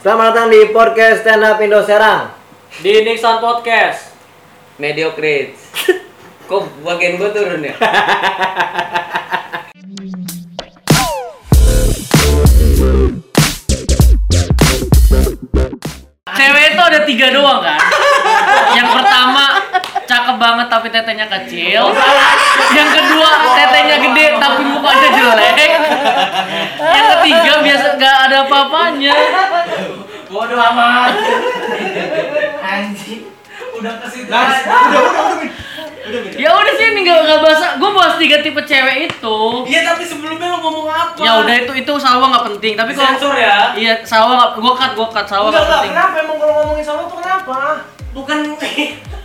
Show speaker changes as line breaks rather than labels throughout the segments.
Selamat datang di podcast Stand Up Indo Serang.
di Nixon Podcast.
Mediocre. Kok bagian gue turun ya?
Cewek itu ada tiga doang kan? Yang pertama cakep banget tapi tetenya kecil. Yang kedua tetenya gede tapi mukanya jelek. Yang ketiga biasa nggak ada apa-apanya.
Bodoh amat. Anjing. Udah ke situ. udah, udah, udah.
Ya udah sih nggak nggak bahasa. Gue bahas tiga tipe cewek itu.
Iya, tapi sebelumnya lo ngomong apa?
Ya udah itu itu salwa nggak penting. Tapi kalau
Sensor ya.
iya salwa nggak gue cut gue cut salwa nggak
Enggak, enggak,
penting.
kenapa emang kalau ngomongin sama tuh kenapa?
Bukan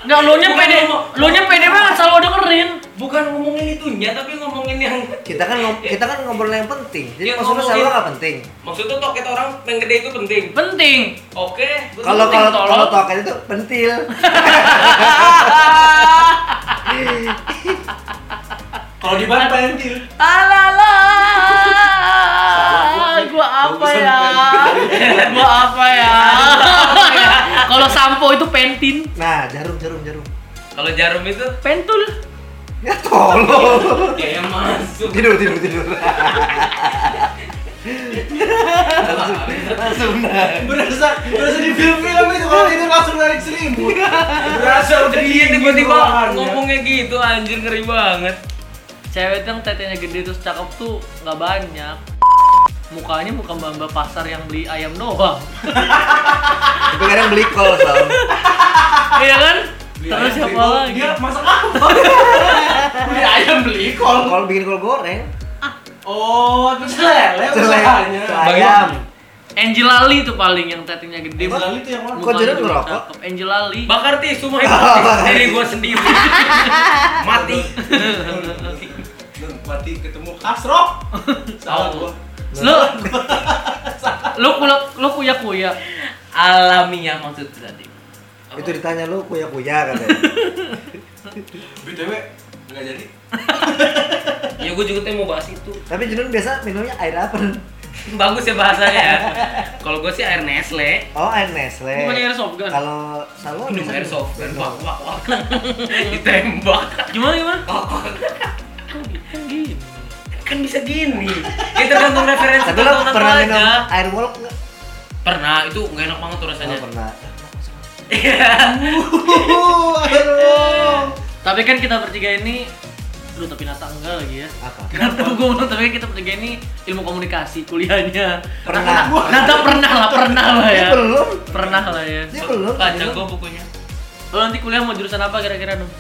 Nggak lu nya
Bukan
pede
ngomong-
lu nya pede banget salwa dengerin.
bukan ngomongin itunya, tapi ngomongin yang Eh,
Kita kan ngom- kita kan ngobrol yang penting. Jadi
Ya,
maksudnya
ngomongin-
selalu nggak penting.
maksudnya toket orang yang gede itu penting.
Penting.
Oke. betul.
Kalau
penting,
kalau
tolong.
kalau token itu pentil.
kalau di ban pentil.
Alalah, gua apa ya? Gua apa ya? Kalau sampo itu pentin,
Nah, jarum jarum jarum.
Kalau jarum itu
pentul.
Ya tolong.
kayak masuk.
Tidur tidur tidur. langsung langsung nah.
Berasa, berasa di film-film itu kalau tidur langsung narik selimut. Berasa udah kan,
Iya
dingin
tiba-tiba
bawaannya.
ngomongnya gitu anjir ngeri banget.
Cewek tuh yang tetenya gede terus cakep tuh nggak banyak. Mukanya muka mbak pasar yang beli ayam doang.
Tapi kadang beli kol soal.
Iya kan?
Beli
Terus
ayam,
siapa
beli kol.
lagi?
Dia masak apa?
Beli ayam beli
Kol kol bikin kol goreng.
Oh, terus lele
Celek.
usahanya.
Ayam.
Angelali tuh paling yang tetenya gede.
Angel Ali tuh yang mana?
Kok
Mukanya
jadi
juga
ngerokok?
cakep. Angelali.
Bakar tisu mah itu diri gua sendiri. Mati.
Mati ketemu Hasro. Salah gua.
Lu lu kulak lu kuyak kuyak.
Alamiah maksudnya tadi.
Itu ditanya lu kuya-kuya katanya.
BTW enggak jadi.
Ya gua juga tuh mau bahas itu.
Tapi Junun biasa minumnya air apa?
Bagus ya bahasanya ya. Kalau gua sih air Nestle.
Oh, air Nestle.
Bukannya air soft gun.
Kalau Salwa
Minum
biasanya
air soft
minum.
wak wak wak. Ditembak.
Gimana gimana?
Oh,
Kan
Kan bisa gini. Ya tergantung referensi
Tapi lo
tontonan
pernah
lo
minum
aja.
air wolok nggak?
Pernah, itu gak enak banget tuh rasanya.
Nggak pernah.
Iya.
Uh, air wolok.
Tapi kan kita bertiga ini Aduh tapi nata enggak lagi ya
Apa?
Kenapa gue ngomong tapi kan kita bertiga ini ilmu komunikasi kuliahnya
Pernah.
Nata, Nata pernah lah, pernah lah
Dia
ya
belum.
Pernah lah ya
Dia belum.
Baca
Junun.
gua bukunya.
Lo nanti kuliah mau jurusan apa kira-kira dong?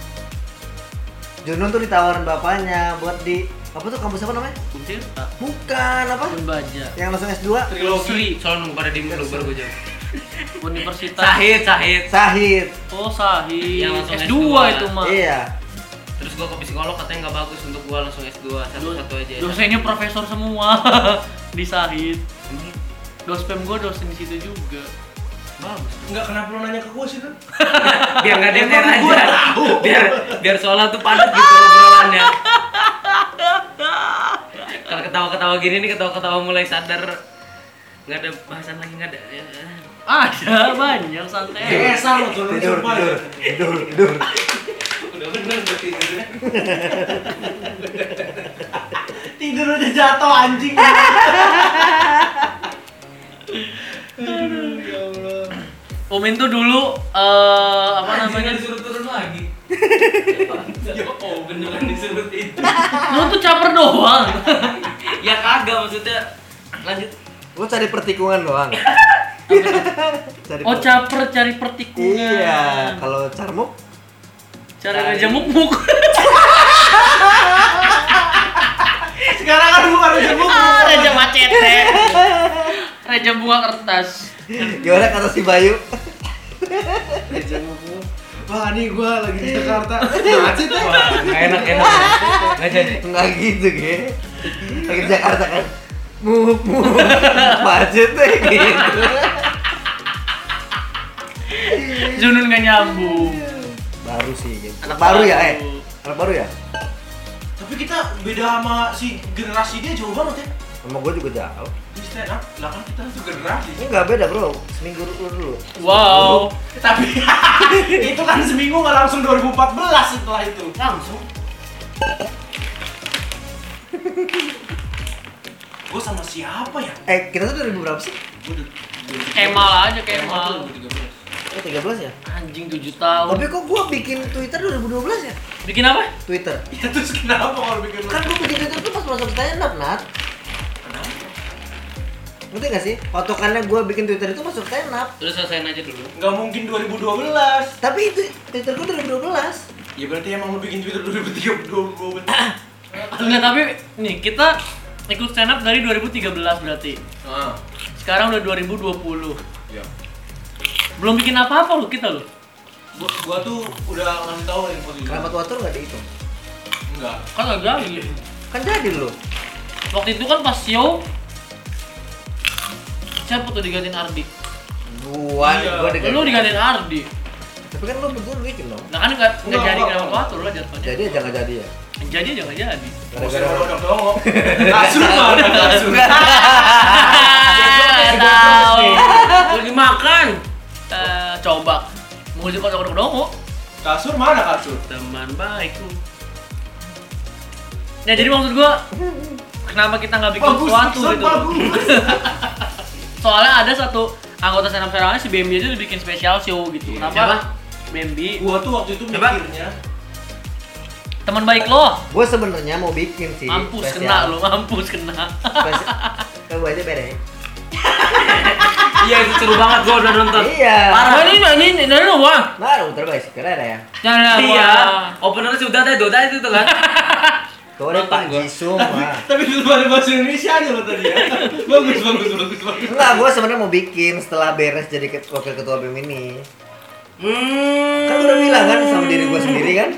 Junun tuh ditawarin bapaknya buat di apa tuh kampus apa namanya?
Kuntir?
Bukan apa?
Pembaja
Yang langsung S2.
Trilogi. Soalnya nunggu pada di dulu baru gua jawab.
Universitas
Sahid, sahid.
Sahid.
Oh Sahi
Yang langsung
S2,
S2.
itu mah
Iya.
Terus gua ke psikolog katanya gak bagus untuk gua langsung S2 satu-satu aja.
Dosennya profesor semua Di Sahid Dospem gue dosen di situ juga
Bagus.
Enggak kenapa lu nanya ke gua sih, Dun?
biar nggak denger
Emang gua
aja biar biar soalnya tuh padat gitu obrolannya kalau ketawa-ketawa gini nih ketawa-ketawa mulai sadar nggak ada bahasan lagi nggak ada ya.
Ada banyak
Eh,
santai
Geser lu tuh, lu
Tidur,
sumpah.
tidur, tidur, tidur.
udah bener udah tidurnya
Tidur udah jatuh anjing. Aduh, ya Allah.
Umin tuh dulu eh apa namanya?
disuruh turun lagi ya oh beneran disuruh itu
Lu tuh caper doang.
ya kagak maksudnya lanjut
Lu cari pertikungan doang. cari
Iya. Oh
per-
caper cari pertikungan.
Iya, kalau Carmuk
Cari aja muk-muk.
Sekarang kan bukan udah
Ah, Raja macete. Raja bunga kertas.
gimana kata si Bayu?
Wah ini gue lagi di Jakarta Macet ya
Wah, nggak enak enak nggak jadi
Enggak gitu, Ge. Lagi di Jakarta kan. Muk, muk. Macet deh gitu.
Junun gak nyambung.
Baru sih, Ge.
Anak
Anak baru ya,
baru.
eh. Anak baru ya?
Tapi kita beda sama si generasi dia jauh banget ya
Sama gue juga jauh.
Ini stand up, lah kan kita juga gratis.
Ini nggak beda bro, seminggu dulu dulu.
Wow.
Tapi itu kan seminggu nggak langsung 2014 setelah itu.
Langsung.
Gue sama siapa ya?
Eh kita tuh 2000 berapa sih?
Gue
Kemal aja
Eh,
Kemal.
Oh 13 ya?
Anjing 7 tahun.
Tapi kok gua bikin Twitter 2012 ya?
Bikin apa?
Twitter.
Ya terus kenapa kalau bikin lu?
Kan gua bikin Twitter tuh pas masuk stand up, Nat.
Kenapa?
Ngerti nggak sih? Patokannya gua bikin Twitter itu masuk stand up.
Terus selesain aja dulu.
Kan Nggak mungkin 2012.
Tapi itu Twitter gua 2012.
Ya berarti emang lu bikin Twitter 2032
Nah, tapi nih kita ikut stand up dari 2013 berarti.
Ah,
Sekarang udah 2020.
ya.
Belum bikin apa-apa loh kita loh.
Gua, gua tuh udah ngasih tau info itu.
Keramat Water nggak dihitung.
Enggak.
Kan agak lagi.
Kan jadi lu.
Waktu itu kan pas show siapa tuh digantiin Ardi?
Gua,
Iya.
gua diganti.
Lu digantiin Ardi.
Tapi kan lu berdua bikin dong.
Nah kan nggak nggak
Enggak,
jadi
enggak.
kenapa batur lah jatuhnya.
Jadi aja nggak jadi ya.
Jadi aja nggak jadi.
Gara-gara
Gara-gara
udah dongok. Kasur mana kasur?
Ah, Tahu.
Lu dimakan.
Eh, Coba. Mau juga kocok dongo.
Kasur mana kasur?
Teman baikku.
Nah jadi maksud gua kenapa kita nggak bikin
Bagus,
sesuatu
Iksan,
gitu?
bagus.
Soalnya ada satu anggota stand up Serangnya, si BMB itu bikin spesial show gitu.
Iya.
Kenapa?
Siapa?
BMB
Gua tuh waktu itu
Coba.
mikirnya
teman baik lo.
Gue sebenarnya mau bikin sih.
Mampus
spesial.
kena lo, mampus kena.
Spesial. Kan gua aja beda. ya.
Iya itu seru banget gua udah nonton.
Iya.
Parah.
Ini ini ini dari lu Bang.
Baru terbaik keren ya.
Jangan
Iya. Opener sudah ada Dota itu tuh kan.
Kau ada
Nonton
Pak
gua.
Oh,
Jisung mah.
tapi itu bahasa bahasa Indonesia aja lo tadi ya. Bagus bagus bagus bagus.
Enggak, gue sebenarnya mau bikin setelah beres jadi ket- wakil ketua BEM ini.
Hmm.
Kan gua udah bilang kan sama diri gue sendiri kan.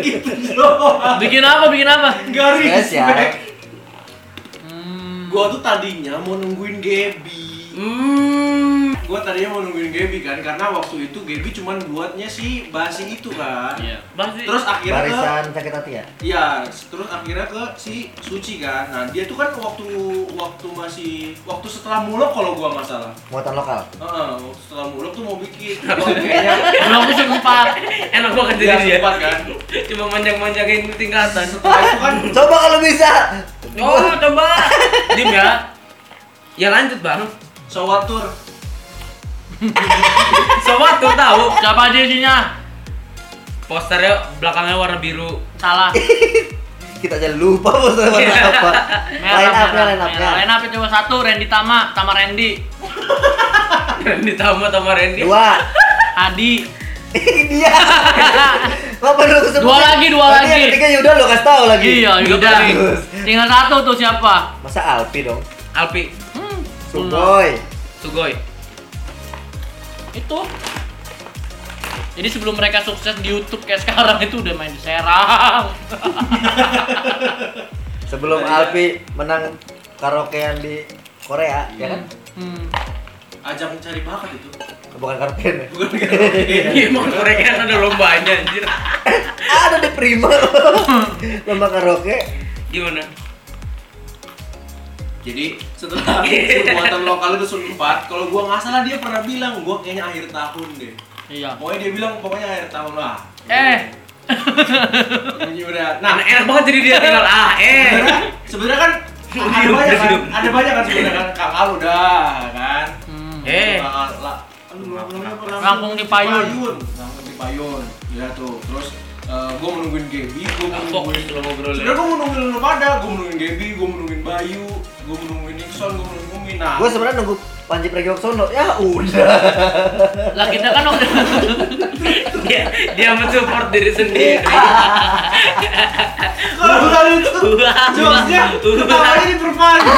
Gitu doang.
Bikin apa? Bikin apa?
Garis.
Spesial.
Hmm.
Gua tuh tadinya mau nungguin Gaby.
Hmm.
Gua tadinya mau nungguin Gaby kan karena waktu itu Gaby cuman buatnya si basi itu kan.
Iya. Pasti.
Terus akhirnya ke
Barisan sakit hati ya.
Iya, terus akhirnya ke si Suci kan. Nah, dia tuh kan waktu waktu masih waktu setelah muluk kalau gua masalah.
Muatan lokal.
Heeh, waktu setelah muluk tuh mau bikin Gua kayaknya
Belum aku sempat.
enak gua kerja
dia
dia.
sempat kan.
Cuma manjang-manjangin tingkatan.
Setelah itu kan
Coba kalau bisa.
Iya, Oh, coba. Dim ya. Ya lanjut, Bang.
Sowatur.
Sobat tuh tahu
Siapa aja isinya?
posternya belakangnya warna biru.
Salah.
Kita aja lupa bos warna apa. Line
Merah,
up-nya,
merah,
line up-nya.
merah. Line up cuma satu, Randy Tama, Tama Randy,
Ditambah sama Randy.
Dua.
Adi.
Dia. Kenapa lu kesebut?
Dua lagi, dua
Berarti
lagi.
Yang ketiga Yuda lo kasih tahu lagi.
Iya,
Tiga
udah.
kali.
Tinggal satu tuh siapa?
Masa Alpi dong?
Alpi,
Hmm,
Suboy.
Sugoi.
itu jadi sebelum mereka sukses di YouTube kayak sekarang itu udah main di Serang
Sebelum
Iya.
Alpi menang karaokean di Korea, ya kan?
hmm.
Ajak mencari bakat itu.
Bukan karaokean ya?
Hmm. Bukan gitu. karaoke.
Iya, emang mereka kan ada lombanya anjir.
Ada di Prima Lomba karaoke
Gimana?
Jadi setelah perbuatan lokal itu sempat, kalau gua nggak salah dia pernah bilang gua kayaknya akhir tahun deh.
iya
Pokoknya dia bilang pokoknya akhir tahun lah.
eh
Ini udah.
Nah,
Nah,
enak banget jadi dia tinggal ah eh.
sebenarnya sebenarnya kan
Hidup,
ada banyak kan
hidup.
ada banyak kan sebenarnya kan kakak lu dah kan
hmm.
Eh.
Kakak la- aduh, namanya apa?
Rangkung di Payun.
Rangkung di Payun ya tuh terus gue menungguin Gaby gue
Fokus
menungguin
lo
sebenarnya
ngobrolnya.
gue menungguin lu pada gue menungguin Gaby gue menungguin Bayu gue menungguin Nixon gue menungguin Umi nah
Gue sebenarnya nunggu Panji Pragiwaksono Ya udah
lah kita kan waktu
Dia Iya, dia mensupport diri sendiri.
kalau udah itu gitu. jokesnya ketawanya diperpanjang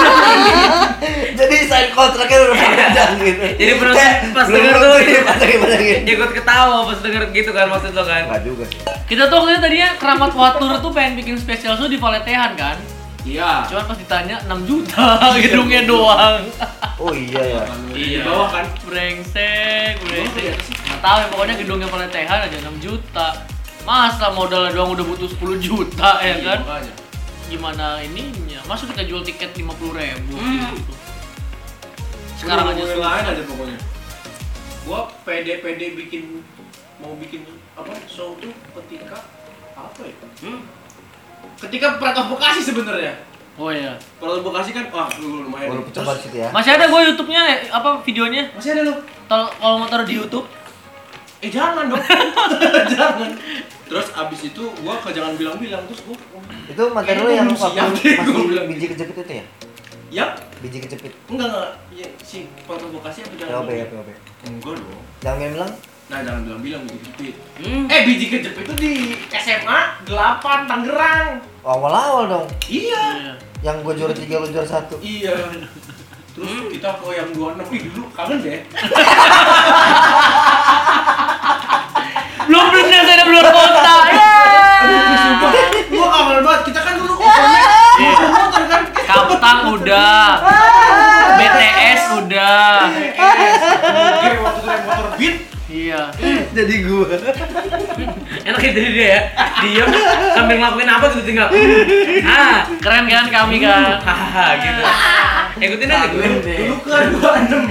Jadi sign kontraknya udah panjang gitu
Jadi belum-
Kayak
pas
belum Iya,
denger
tentu
tuh.
gitu.
ini panjang-panjangin.
Ikut ketawa pas denger gitu kan maksud lo kan.
Enggak juga sih
kita tuh waktu itu tadinya keramat watur tuh pengen bikin spesial show di Valetehan kan
iya
cuman pas ditanya 6 juta gedungnya doang
Oh iya ya
di
Iya.
bawah kan
brengsek brengsek
Iya.
nggak tahu ya pokoknya gedungnya
Iya.
Valetehan aja 6 juta masa modalnya doang udah butuh 10 juta ya kan
Makanya.
gimana ininya masa kita jual tiket 50.000 ribu sekarang
Udah
aja
ngomongin
susah.
lain aja pokoknya gua pede-pede bikin mau bikin apa show tuh ketika apa ya
Hmm?
ketika Pratov Bekasi sebenarnya
oh iya
Pratov Bekasi kan wah dulu lumayan
Baru
Terus-
pecah banget situ ya.
masih ada gue YouTube-nya eh, apa videonya
masih ada lo
Tol- kalau mau taruh di YouTube
eh jangan dong jangan terus abis itu gua ke jangan bilang-bilang terus gua
Itu mantan lu
Kayaknya
yang
belum siap
waktu
deh, gua
masih
bilang.
biji kejepit itu ya?
ya
Biji kejepit.
enggak enggak ya, si Pratov Bekasi apa jangan
POB ya, POB.
enggak dong
Jangan bilang
nah jangan bilang-bilang biji kejepit
Hmm.
eh biji kejepit itu di SMA 8 Tangerang
awal-awal dong.
iya
Iya.
Yang gua juara 3 lu juara 1.
Iya. Terus kita ke yang 26 Ih, dulu kangen deh.
belum belum saya ada belum kota Iya. Ah.
Sumpah, gua kangen banget. Kita kan dulu komponen, komponen kan.
Kaptang udah
Iya.
BTS udah
Iya, Oke, waktu itu yang motor beat.
iya
Jadi gua.
Enak ya jadi dia ya. Diam sambil ngelakuin apa tuh tinggal. Ah,
keren kan kami kan
Hmm.
hahaha gitu. Ikutin aja gue.
Dulu,
Iya.
dulu kan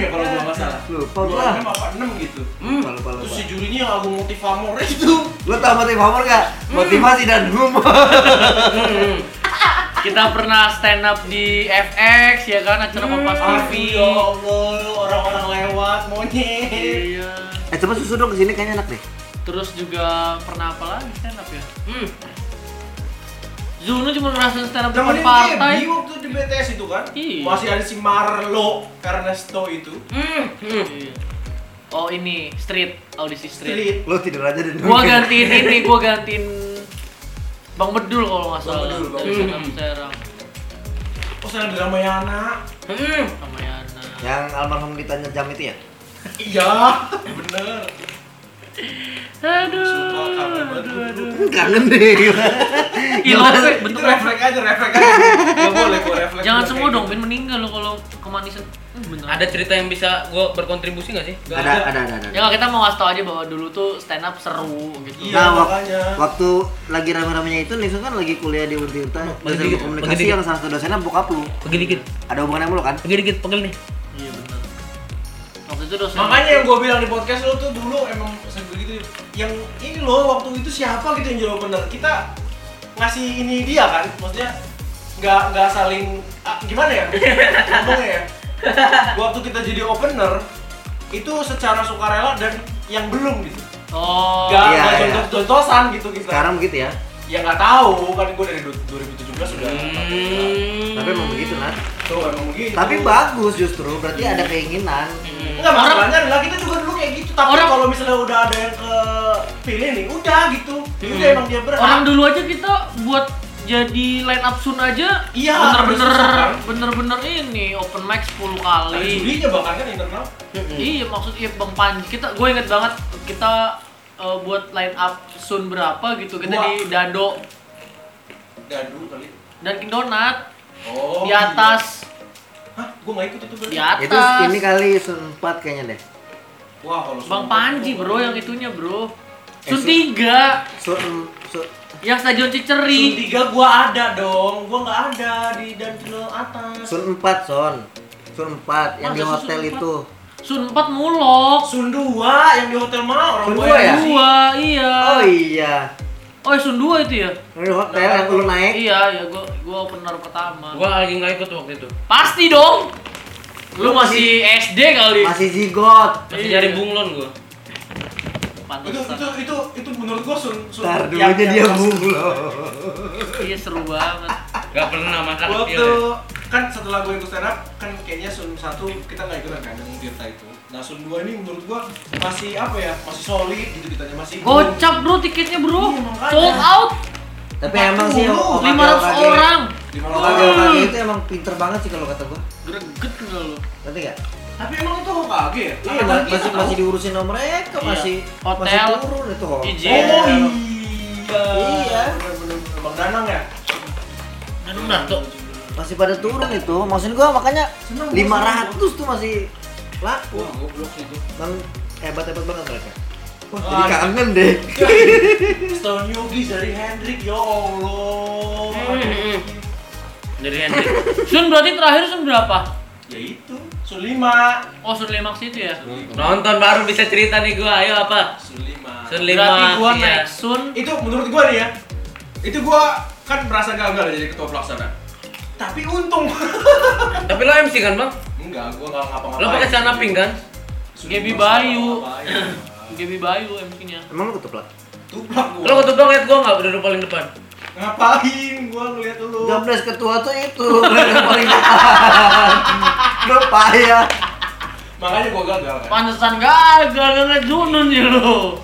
26 ya kalau gua nggak salah.
Lupa gua.
26 apa 6 gitu.
Lupa lupa
Terus
lupa.
si jurinya yang lagu motif amor itu.
Lu tau motif humor gak? Motivasi dan humor.
Hmm.
kita pernah stand up di FX ya kan acara
Hmm.
Kompas TV
Aduh, ya Allah, orang-orang lewat monyet.
iya
Eh coba susu dong kesini kayaknya enak deh.
terus juga pernah apa lagi stand up ya
Hmm.
Zuno cuma ngerasain stand up depan
Temenin
partai
Debi waktu di BTS itu kan.
Iya.
Masih ada si Marlo Carnesto itu.
Hmm. Hmm.
Iya. oh ini street audisi street,
Street.
Lu tidur aja dan
gua gantiin ini gua gantiin Bang Bedul kalau nggak
Bang
salah
Bedul, Bang
dari
Bedul.
stand up Serang
Oh, sana drama Yana.
Hmm.
sama Yana
Yang almarhum ditanya jam itu ya?
Iya, bener.
aduh Iya,
Sumpah, kangen banget
aduh aduh
Kangen deh.
Ih, Lope,
Itu
bentuk
refleks aja, refleks aja. Gak boleh, gue refleks.
jangan
Gua
semua
kayak
dong
gitu.
Ben meninggal lo kalau kemanisan Eh, beneran.
Ada cerita yang bisa gue berkontribusi gak sih?
Gak
ada ada ada ada.
Ya nggak, kita mau ngasih tau aja bahwa dulu tuh stand up seru gitu.
Iya,
Nah, wak-
makanya.
waktu lagi rame-ramenya itu Nixon kan lagi kuliah di Untirta dosen
pakai
Oh, ya?
dikit, pakai
komunikasi
dikit.
yang salah satu dosennya bokap lu
Pegel dikit,
ada hubungannya mulu kan
pegel dikit, pegel nih.
Iya benar. Waktu itu dosen.
Makanya yang gue bilang di podcast lo tuh dulu emang sebegitu yang ini loh waktu itu siapa gitu yang jawab bener kita ngasih ini dia kan maksudnya nggak nggak saling ah, gimana ya ngomongnya ya waktu kita jadi opener itu secara sukarela dan yang belum gitu
Oh.
nggak
iya,
nggak
iya.
jontos-jontosan gitu gitu
sekarang begitu ya
ya nggak tahu kan gue dari du- 2017 sudah
Hmm.
tapi emang begitu nah
tuh emang begitu
tapi bagus justru berarti ada keinginan
Hmm.
Enggak, masalahnya adalah kita juga dulu kayak gitu Tapi
Orang-
kalau misalnya udah ada yang kepilih nih, udah gitu Ya Udah emang dia berhak
Hmm. Orang dulu aja kita buat jadi line up soon aja
Iya,
bener-bener
harus susah, kan?
bener-bener ini open mic 10
Ada
kali
jurinya bahkan kan internal
iya maksud iya bang Panji kita gue inget banget kita eh, buat line up soon berapa gitu kita
Wah.
di Dado
Dadu kali
dan Donat
Oh
di atas
iya. Hah? Gue gak ikut itu berarti?
di atas
itu ini kali sempat kayaknya deh
Wah kalau
Bang
sumpah
Panji
itu-
bro yang itunya bro
Eh,
Sun
Sun-
3
so, mm, so-
yang stadion Ciceri
Sun tiga gue ada dong, gue gak ada di dan final atas
Sun 4 Son Sun 4 yang di
Masa Sun
hotel
empat?
itu
Sun 4 mulok
Sun dua yang di hotel mana orang
Sun
gua
dua
yang
ya?
di-
dua iya
oh iya
oh Sun 2 itu ya
yang di hotel yang lu naik
iya ya gua gua opener pertama
Gue lagi nggak ikut waktu itu.
pasti dong lu masih SD kali
masih zigot
Masih
Iya.
cari bunglon gue.
itu itu
pantesan
itu itu menurut gue sun sun
ntar dulunya dia bunglon
iya seru banget
Gak pernah ya. makan
waktu
iya.
kan setelah gue ikut stand up kan kayaknya sun satu kita nggak ikutan kan yang Tirta itu nah sun dua ini menurut gue masih apa ya masih solid gitu kitanya masih
gocap bro tiketnya bro
Iya, makanya.
sold out
tapi emang sih
Empat puluh,
OKG
500 orang
Di mana
OKG
lagi?
OKG itu emang pinter banget sih kalau kata gua
greget nggak lu
ngerti gak?
tapi emang itu HKG ya
Iya,
Oh, Angkatan
masih
kita
masih
tahu.
diurusin sama mereka,
Iya.
masih
Hotel.
masih turun itu hotel.
Izin.
oh
Iya.
iya
Iya.
bener bener bener. bang danang ya
Aduh, Nato.
Masih pada turun itu. Maksud gua makanya
Seneng, gua
500 tuh masih laku.
wah goblok itu
Kan hebat-hebat banget mereka. Wah, jadi
Wah,
kangen deh.
Stone Yogi dari Hendrik ya Allah
Hmm.
Dari Hendrik. Sun berarti terakhir Sun berapa?
ya itu Sulima
Oh Sun Limax itu ya?
Nonton baru bisa cerita nih gua. Ayo apa?
Sulima
Sun
berarti
lima.
gua
iya.
naik Sun
itu menurut gua nih ya itu gua kan merasa gagal jadi ketua pelaksana tapi untung
Tapi lo MC kan, Bang?
enggak gua nggak ngapa-ngapain
Lo pakai celana pink kan?
Sulima,
Gaby Bayu.
ngapain.
Gaby Bayu ya, MC-nya.
Emang lu ketuplak?
tuplak gua
Lo ketutup banget gua enggak duduk paling depan.
ngapain gua ngeliat lu
12 ketua tuh itu yang paling ya? Lu payah.
makanya gua gagal kan
Pantesan gagal nggak Junun ya lu.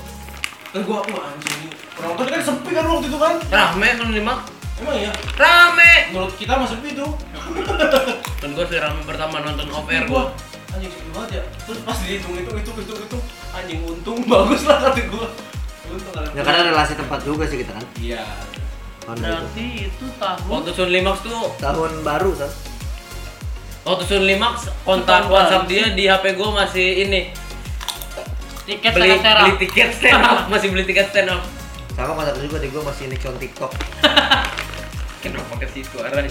terus gua wah anjing ini penonton kan sepi kan waktu itu kan
Rame Sun lima.
emang iya
Rame.
menurut kita mah sepi tuh
Dan gua sih rame pertama nonton off air
gua
gua.
anjing sepi banget ya terus pas dihitung itu itu itu itu anjing untung bagus lah kata gua untung ada
Ya karena relasi tempat juga sih kita kan.
iya
Tahun
Iya.
baru.
Berarti itu tahun
Waktu Sun Limax tuh,
Tahun baru kan.
waktu Sun Limax kontak
Tahun
WhatsApp
baru.
dia di HP gua masih ini
tiket
beli
saya serang.
beli tiket stand up, masih beli tiket stand up.
Sama kontak juga di gua masih nikon TikTok.
Kenapa ke situ arahnya?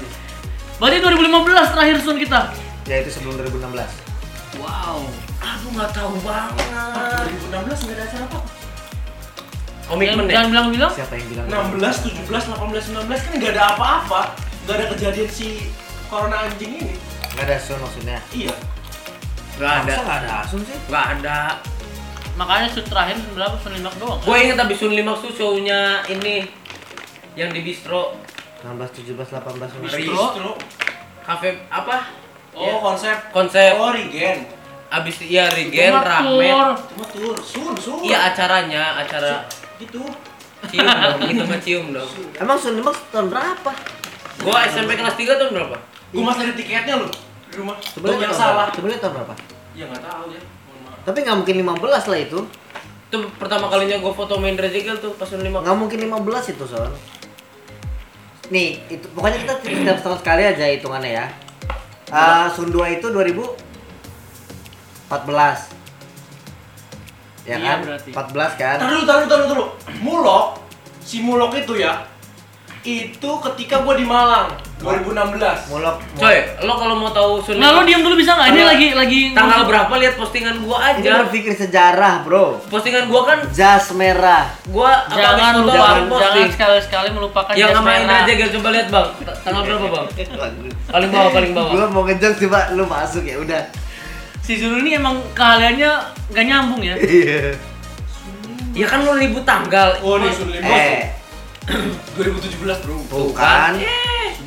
Berarti 2015 terakhir Sun kita.
Ya itu sebelum 2016.
Wow.
Aku nggak tahu banget.
2016 nggak ada acara apa
Komitmen ya.
Jangan bilang-bilang.
Siapa yang bilang?
16, 17, 18, 19 kan nggak ada apa-apa nggak ada kejadian si corona anjing ini
Enggak ada sun maksudnya.
iya
Gak ada.
Masa nggak ada sun sih?
Gak ada.
Makanya Sun terakhir Sun berapa Sun Limax doang.
Gue inget abis Sun Limax tuh show-nya ini yang di bistro
16, 17, 18, 19.
Bistro?
Bistro.
cafe apa?
oh konsep
Iya. Konsep
oh regen
abis ya Regen
Cuma tur.
Rahmat.
cuma tur sur sur
Iya acaranya acara
gitu
cium dong, itu mah cium dong.
Emang sun Limax tahun berapa?
Gua SMP kelas 3 tahun berapa?
gua masih ada tiketnya loh di rumah
Sebenarnya
yang
tahun
salah
berapa? Sebenarnya tahun berapa?
ya nggak tahu ya mohon maaf
Tapi nggak mungkin 15 lah itu.
Itu pertama kalinya gua foto main Drezegal tuh pas Sun Limax.
Nggak mungkin 15 itu son. Nih, itu pokoknya kita setiap setahun sekali aja hitungannya ya. Eh sun 2 itu 2014. Ya
Iya,
kan?
berarti.
14 kan?
Taruh, taruh, taruh, taruh. Mulok, si Mulok itu ya, itu ketika gua di Malang 2016.
Mulok.
Coy, lo kalau mau tahu Sun
Nah, lo
Limax
diam dulu bisa nggak? Ini
Tanggal-
lagi lagi
tanggal berapa lihat postingan gua
Ini
aja.
berpikir sejarah, Bro.
Postingan gua kan
Jas merah.
gua apa abis
Jangan
foto
lupa,
langsung
jangan
posting.
sekali-sekali melupakan
yang
jas
sama
merah.
Drezegal coba lihat Bang. Ta- Tanggal berapa Bang? Paling bawah, paling bawah.
Gua mau ngejok coba lu masuk ya udah.
Si Zulu ini emang keahliannya nggak nyambung ya.
Iya.
Ya kan lo ribut tanggal.
Oh, ini Sun Limas
eh,
2017 bro.
bukan.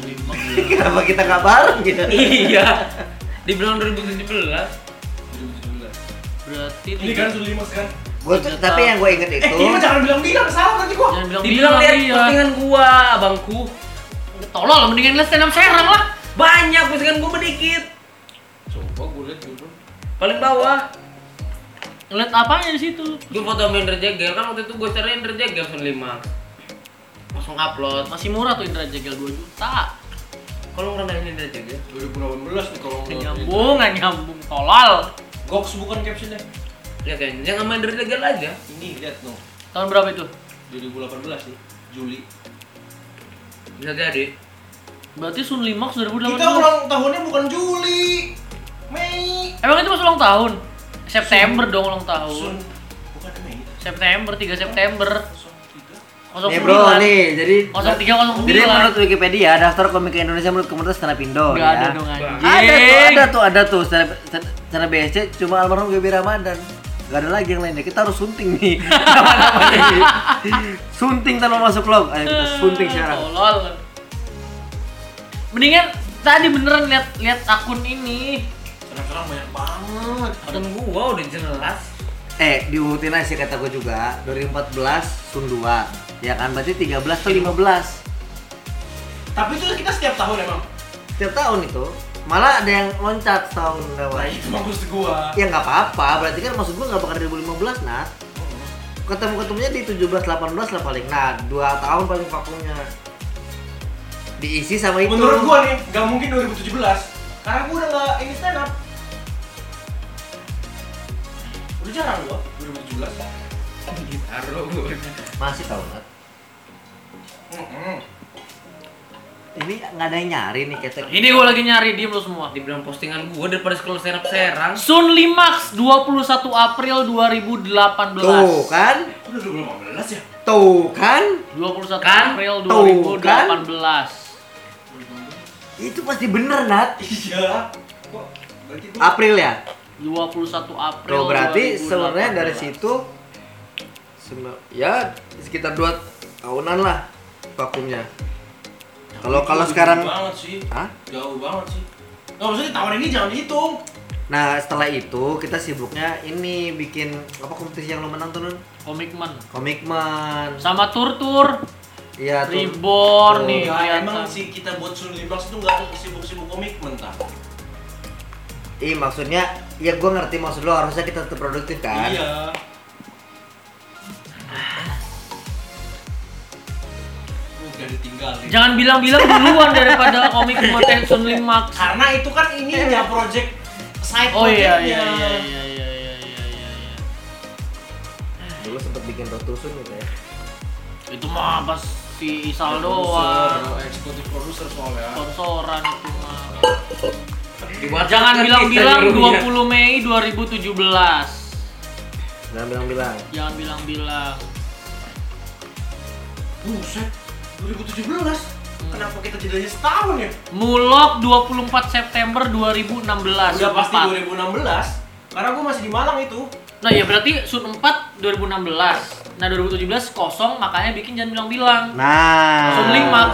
Kenapa kita nggak bareng ya?
iya. Di bulan 2017.
2017.
Berarti
Ini kan Sun Limas kan.
Gua tuh, tapi yang gue inget
Eh,
itu.
ini mah jangan bilang-bilang salah nanti gua.
Jangan bilang
Dibilang lihat postingan gua, abangku.
Tolol, mendingan lihat stand up Serang lah.
Banyak postingan gua sedikit.
Coba gua lihat dulu.
Paling bawah.
Ngeliat apanya di situ?
Gua foto main Rejegel kan waktu itu gua cariin Rejegel Sun 5. Langsung upload.
Masih murah tuh Indra Jegel 2 juta.
Kalau ngerendahin Rejegel.
2018 nih kalau
Nggak nyambung, nggak nyambung, tolol.
Goks bukan captionnya.
Ya kan, jangan main Rejegel aja.
Ini lihat no.
Tahun berapa itu?
2018 nih. Juli.
Bisa jadi.
Berarti Sun Limax
Kita
2018.
ulang tahunnya bukan Juli. Mei.
Emang itu pas ulang tahun? September dong ulang tahun.
Sun. Bukan Mei.
September, 3 September.
Sun tiga.
Nih bro,
09.
nih jadi
03, 09.
jadi menurut Wikipedia daftar komik Indonesia menurut komunitas stand up Indo
Nggak
ya.
ada dong
Ada tuh,
anjing.
ada tuh, ada tuh stand up, stand- stand up BSC cuma almarhum Gaby Ramadan. Gak ada lagi yang lainnya. Kita harus sunting nih. Nama-namanya nih. sunting tanpa masuk log. Ayo kita sunting sekarang.
Tolol. Mendingan tadi beneran lihat lihat akun ini.
Sekarang banyak banget.
Kan gua udah jelas.
Eh, diurutin aja sih kata gue juga. 2014 Sun 2. Ya kan berarti 13 tuh 15.
Tapi itu kita setiap tahun emang.
Setiap tahun itu malah ada yang loncat tahun
Nah
lewat.
itu maksud gua.
Ya nggak apa-apa, berarti kan maksud gue nggak bakal 2015, Nat.
Oh,
Ketemu-ketemunya di 17-18 lah paling. Nah, 2 tahun paling vakumnya. Diisi sama itu.
Menurut gua nih, nggak mungkin 2017 karena gua udah nggak ini stand up. Udah jarang gua 2017.
Taruh.
Masih tahu, Nat.
Mm-mm.
ini nggak ada yang nyari nih ketek.
Ini gue lagi nyari diem lo semua.
Dibilang postingan gua daripada sekolah serap serang.
Sun Limax 21 April 2018.
Tuh kan,
Udah 2015 ya?
tuh kan,
21
Kan?
April
Tuh,
2018.
kan? itu pasti bener Nat.
Iya. Kok berarti gua
April ya.
21 April.
Tuh berarti
2018.
sebenarnya dari situ, sembilan- ya sekitar dua tahunan lah vakumnya. Kalau kalau
Jauh
sekarang,
banget sih.
Hah?
Jauh banget sih. Nggak maksudnya tahun ini jangan dihitung.
nah setelah itu kita sibuknya ini bikin apa kompetisi yang lo menang tuh Nun?
komitmen
Komitmen.
sama tur-tur
Iya tuh.
reborn
Tuh.
nih.
Enggak,
kelihatan.
iya.
emang sih kita buat Sun Limax itu nggak sibuk-sibuk komitmen tah.
Ih maksudnya, ya gue ngerti maksud lo harusnya kita tetap produktif kan. Ah.
Iya. Udah ditinggalin.
Jangan bilang-bilang duluan daripada komitmen eh, Sun Limax.
Karena itu kan ininya project side
Oh iya iya
projectnya.
iya iya iya iya iya iya. iya.
Dulu sempet bikin rotusun gitu ya.
Itu mah pas si Isal
Produser,
doang
Eksekutif produser soalnya.
sponsoran itu mah.
Di WhatsApp
Jangan
kan
bilang-bilang
kita nyuruhnya.
20 Mei 2017.
Jangan bilang-bilang.
Jangan bilang-bilang.
Buset, 2017. Kenapa kita jedanya setahun ya?
Mulok 24 September 2016.
Udah
Sun
pasti
empat.
2016. Karena gue masih di Malang itu.
Nah ya berarti Sun 4 2016. Nah 2017 kosong makanya bikin jangan bilang-bilang.
Nah.
Sun Limax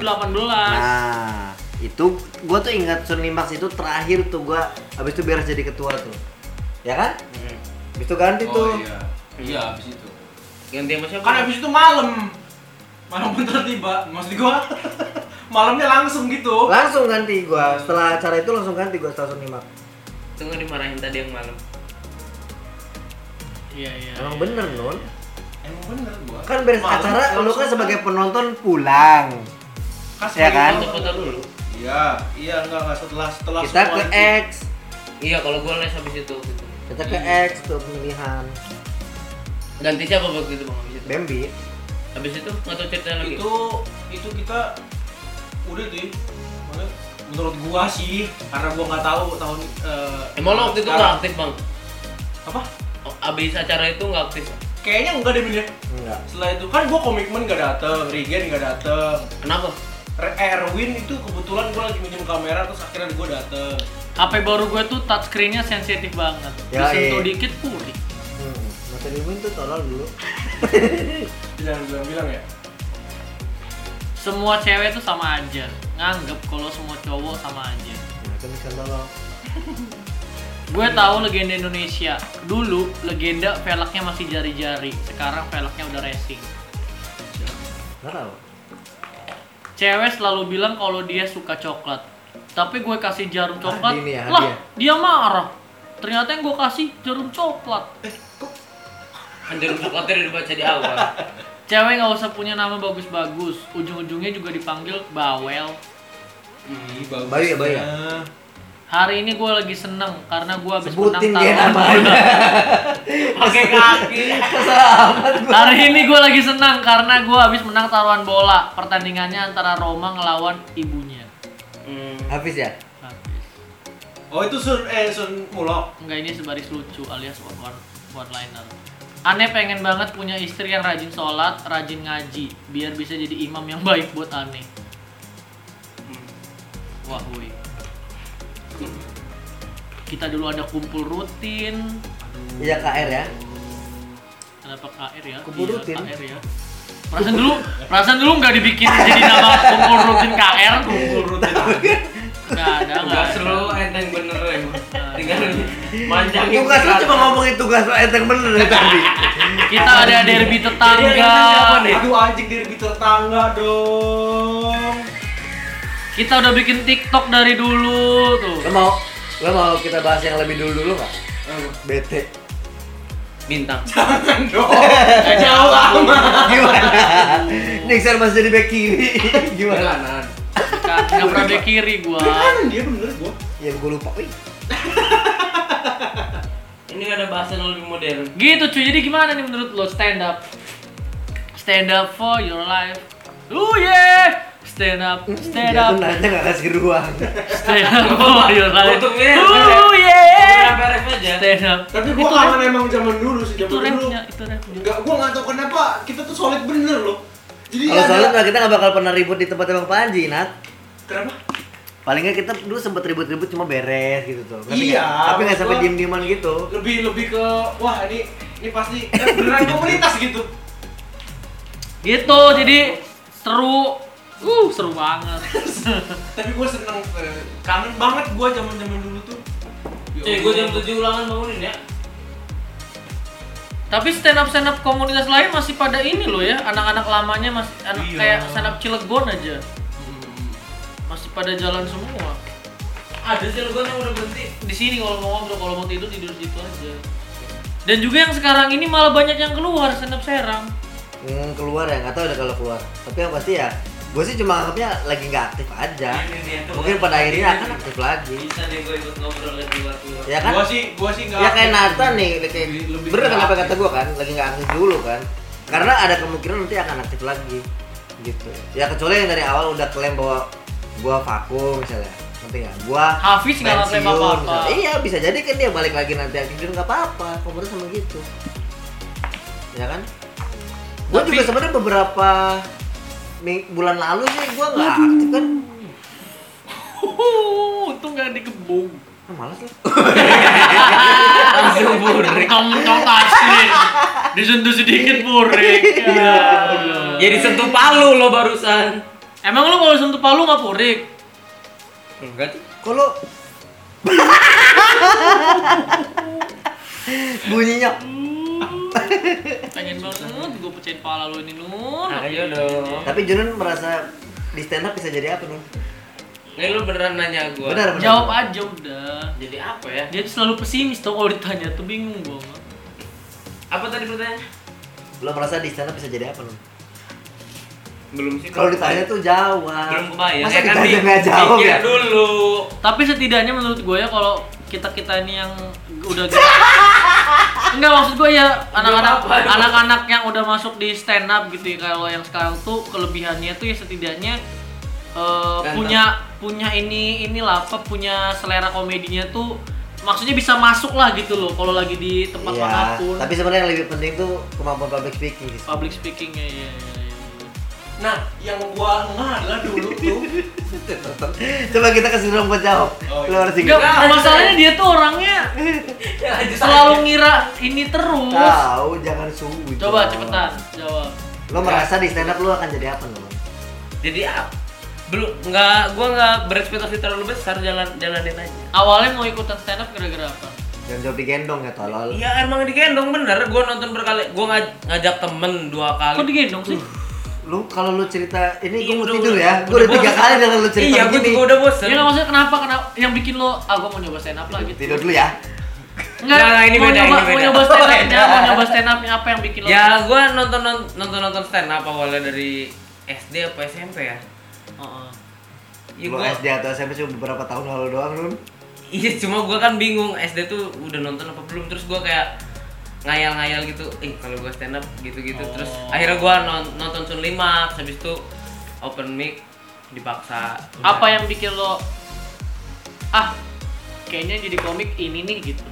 2018.
Nah, itu gue tuh ingat Sun Limax itu terakhir tuh gue abis itu beres jadi ketua tuh. Ya kan? Abis itu ganti tuh.
Oh, Iya, abis itu.
Ganti sama siapa?
Kan abis itu malam. Malam bentar tiba. Maksud gue, malamnya langsung gitu.
Langsung ganti gue. Setelah acara itu langsung ganti gue setelah Sun Limax.
Tunggu dimarahin tadi yang malam.
Iya iya.
Emang
iya.
bener non?
Emang bener gue.
Kan beres acara lu kan sebagai penonton pulang. ya kan?
Foto-foto dulu.
Iya, iya enggak enggak setelah setelah
Kita
semua
ke
itu.
X,
Iya, kalau gua les habis itu. waktu itu.
kita ke X tuh pemilihan.
Ganti siapa waktu itu Bang? Habis itu.
Bambi.
Habis itu enggak tahu cerita lagi.
itu itu kita udah tuh ya. Maksudnya, menurut gua sih karena gua nggak tahu tahun eh,
Emang lo waktu itu nggak
sekarang.
aktif bang?
apa
Abis acara itu nggak aktif?
kayaknya enggak deh Bin, ya.
Enggak.
setelah itu kan gua komitmen gak dateng Regen gak dateng
Kenapa?
Re- eh, Erwin itu kebetulan gua lagi minjem kamera terus akhirnya gua dateng
HP baru gue tuh touchscreen-nya sensitif banget.
Ya,
Disentuh
iya.
dikit puri.
Hmm. Mata Liwin tuh tolol dulu.
jangan bilang-bilang ya
Semua cewek tuh sama aja. Nganggep kalau semua cowok sama aja.
Nah, kan bisa tolol.
Gue
Iya.
tahu legenda Indonesia. Dulu legenda velgnya masih jari-jari. Sekarang velgnya udah racing.
Nggak tahu.
Cewek selalu bilang kalau dia suka coklat. Tapi gue kasih jarum coklat.
ini ya,
lah, dia marah. Ternyata yang gue kasih jarum coklat.
Anjir coklatnya udah dibaca di awal.
Cewek nggak usah punya nama bagus-bagus. Ujung-ujungnya juga dipanggil bawel.
Ih,
Bayu ya, Bayu ya?
Hari ini gue lagi seneng karena gue habis menang
Sebutin dia
taruhan.
namanya.
Pakai kaki.
Hari ini gue lagi senang karena gue habis menang taruhan bola. Pertandingannya antara Roma ngelawan ibunya.
Hmm.
Habis ya?
Habis.
oh itu Sun eh Sun Mulok
Enggak ini sebaris lucu alias one one one liner. Aneh pengen banget punya istri yang rajin sholat, rajin ngaji, biar bisa jadi imam yang baik buat aneh. Wah, woi. Kita dulu ada kumpul rutin.
Iya KR ya?
Kenapa KR ya?
Kumpul
Iya,
rutin.
KR ya. Perasaan dulu, perasaan dulu nggak dibikin jadi nama kumpul rutin KR.
kumpul rutin aja.
Nggak ada, nggak
Tugas
ada.
lo enteng bener emang. Tinggal manjangin.
Tugas lu cuma ngomongin tugas lu enteng bener dari tadi.
Kita ada derby
Jadi yang ini siapa
tetangga.
nih?
aduh anjing diri tetangga dong
Kita udah bikin TikTok dari dulu tuh.
Lo mau lo mau kita bahas yang lebih dulu dulu nggak? BT.
Bintang.
Eh, jauh
ah.
amat.
Gimana? Nixon masih jadi back kiri. Gimana?
Jalanan.
Nggak pernah bek kiri gua.
kan dia bener gua
Yang gue Ya, lupa. Wih.
Ini ada bahasan yang lebih
Eh.
modern.
Gitu cuy. Jadi gimana nih menurut lo stand up? Stand up for your life. Oh yeah. Stand up, stand
Dia
up,
tuh
Iya.
nanya nggak kasih ruang.
stand up for your life.
Untungnya,
Ooh, yeah.
Berapa ref aja?
Stand up.
Tapi
Itu
gua kangen emang zaman dulu sih,
itu
zaman dulu.
rapnya, itu rapnya.
Enggak, gua nggak tahu kenapa kita tuh solid bener loh. Jadi
Kalau
ada
soalnya nggak, kita nggak bakal pernah ribut di tempat Bang Panji, Nat.
kenapa?
Paling nggak kita dulu sempet ribut-ribut cuma beres gitu tuh. Ngerti
Iya,
nggak? Tapi nggak sampai
maksud gua-
diem-dieman gitu.
Lebih lebih ke wah ini ini pasti kan beneran komunitas gitu.
Gitu, jadi seru. Uh, seru banget.
Tapi gua seneng eh, kangen banget gua zaman zaman dulu tuh. Ya
Cuy, gue
Allah.
jam 7 ulangan bangunin ya.
Tapi stand up stand up komunitas lain masih pada ini loh ya, anak-anak lamanya masih anak
Iya.
kayak stand up Cilegon aja.
Hmm.
Masih pada jalan semua.
Ada sih gue yang udah berhenti.
Di sini kalau mau ngobrol, kalau mau tidur tidur di situ aja. Dan juga yang sekarang ini malah banyak yang keluar stand up Serang.
Hmm, keluar ya, nggak tahu udah kalau keluar. Tapi yang pasti ya, gue sih cuma anggapnya lagi nggak aktif aja.
Ini dia tuh.
Mungkin pada akhirnya akan aktif lagi.
Bisa deh gue ikut ngobrol lagi waktu.
Ya kan?
Gua sih gua sih
Ya
enggak.
kayak Nathan nih, kayak
Lebih- lebih
bener kan
nggak
apa
aktif.
kata gue kan, lagi nggak aktif dulu kan. Karena ada kemungkinan nanti akan aktif lagi, gitu. Ya kecuali yang dari awal udah klaim bahwa gua vakum misalnya, nanti nggak. Gua
Hafiz nggak
pensiun,
ngaklaim apa-apa.
misalnya. Iya bisa jadi kan dia balik lagi nanti aktif dulu nggak apa-apa, komunitas sama gitu. Ya kan? Gua
Tapi-
juga sebenarnya beberapa ming- bulan lalu sih gua nggak aktif kan.
Huhu, untung nggak dikebung.
Ah, malas lah. Ah,
Langsung burik. Mentong-mentong asin. Disentuh sedikit burik. Ya.
Ya disentuh palu lo barusan.
Emang lu kalau sentuh palu nggak purik?
Enggak tuh.
Kalau bunyinya
Pengen banget gue pecahin pala lu ini nun.
Ayo dong.
Tapi Junun merasa di stand up bisa jadi apa nih?
Ini lu beneran nanya gue.
Benar, benar.
Jawab aja udah.
Jadi apa ya?
Dia tuh selalu pesimis tuh kalau ditanya tuh bingung gue.
Apa tadi pertanyaannya?
Lo merasa di stand up bisa jadi apa nih?
Belum sih.
Kalau ditanya tuh jawab.
belum kebayang.
Ah, Masa
Eh, kan
ditanya
di-
nggak jawab
pikir
ya?
dulu.
Tapi setidaknya menurut gue ya kalau kita kita ini yang udah gede- Enggak maksud gue ya anak-anak
apa-apa.
anak-anak yang udah masuk di stand up gitu ya, kalau yang sekarang tuh kelebihannya tuh ya setidaknya eh,
Ganteng.
punya punya ini inilah apa punya selera komedinya tuh maksudnya bisa masuk lah gitu loh kalau lagi di tempat
Iya,
manapun
tapi sebenarnya yang lebih penting tuh kemampuan public speaking sih.
public speakingnya ya, ya.
Nah, yang gua enggak adalah dulu tuh.
Coba kita kasih ruang buat jawab.
Oh,
Lo
iya.
harus ingat.
Enggak, masalahnya dia tuh orangnya
ya
selalu ngira ini terus.
Tahu, jangan suhu.
Coba cepetan jawab.
Lo merasa di stand up lo akan jadi apa nih?
Jadi apa? Belum nggak gua nggak berekspektasi terlalu besar jalan jalanin aja.
Awalnya mau ikutan stand up gara-gara apa?
Jangan jawab digendong ya tolol.
Iya emang digendong bener, gua nonton berkali, gua ngaj- ngajak temen dua kali
Kok digendong sih?
Uh,
Lu kalau lu cerita ini gue
Iya,
mau
udah-
tidur ya.
udah
Gue udah tiga
bosen.
kali dengan lu cerita
Iya, gua
begini.
juga udah bosen
Ya nggak, maksudnya kenapa kenapa yang bikin lo ah gua mau nyoba stand up lah
Tidur-
gitu.
Tidur dulu ya.
Enggak,
Nah, nah, ini
mau
beda,
nyoba,
ini
mau
beda.
nyoba stand up
Beda.
mau nyoba stand up apa yang bikin lo?
Ya gua nonton nonton nonton stand up awalnya dari SD apa SMP ya?
Heeh.
Iya
Lu
gua-
SD atau SMP cuma beberapa tahun lalu doang, Nun.
Iya cuma gua kan bingung SD tuh udah nonton apa belum terus gua kayak ngayal-ngayal gitu eh kalau gua stand up gitu-gitu terus
Oh.
akhirnya gua non- nonton Sun 5 habis itu open mic dipaksa
Apa yang bikin lo ah kayaknya jadi komik ini nih gitu.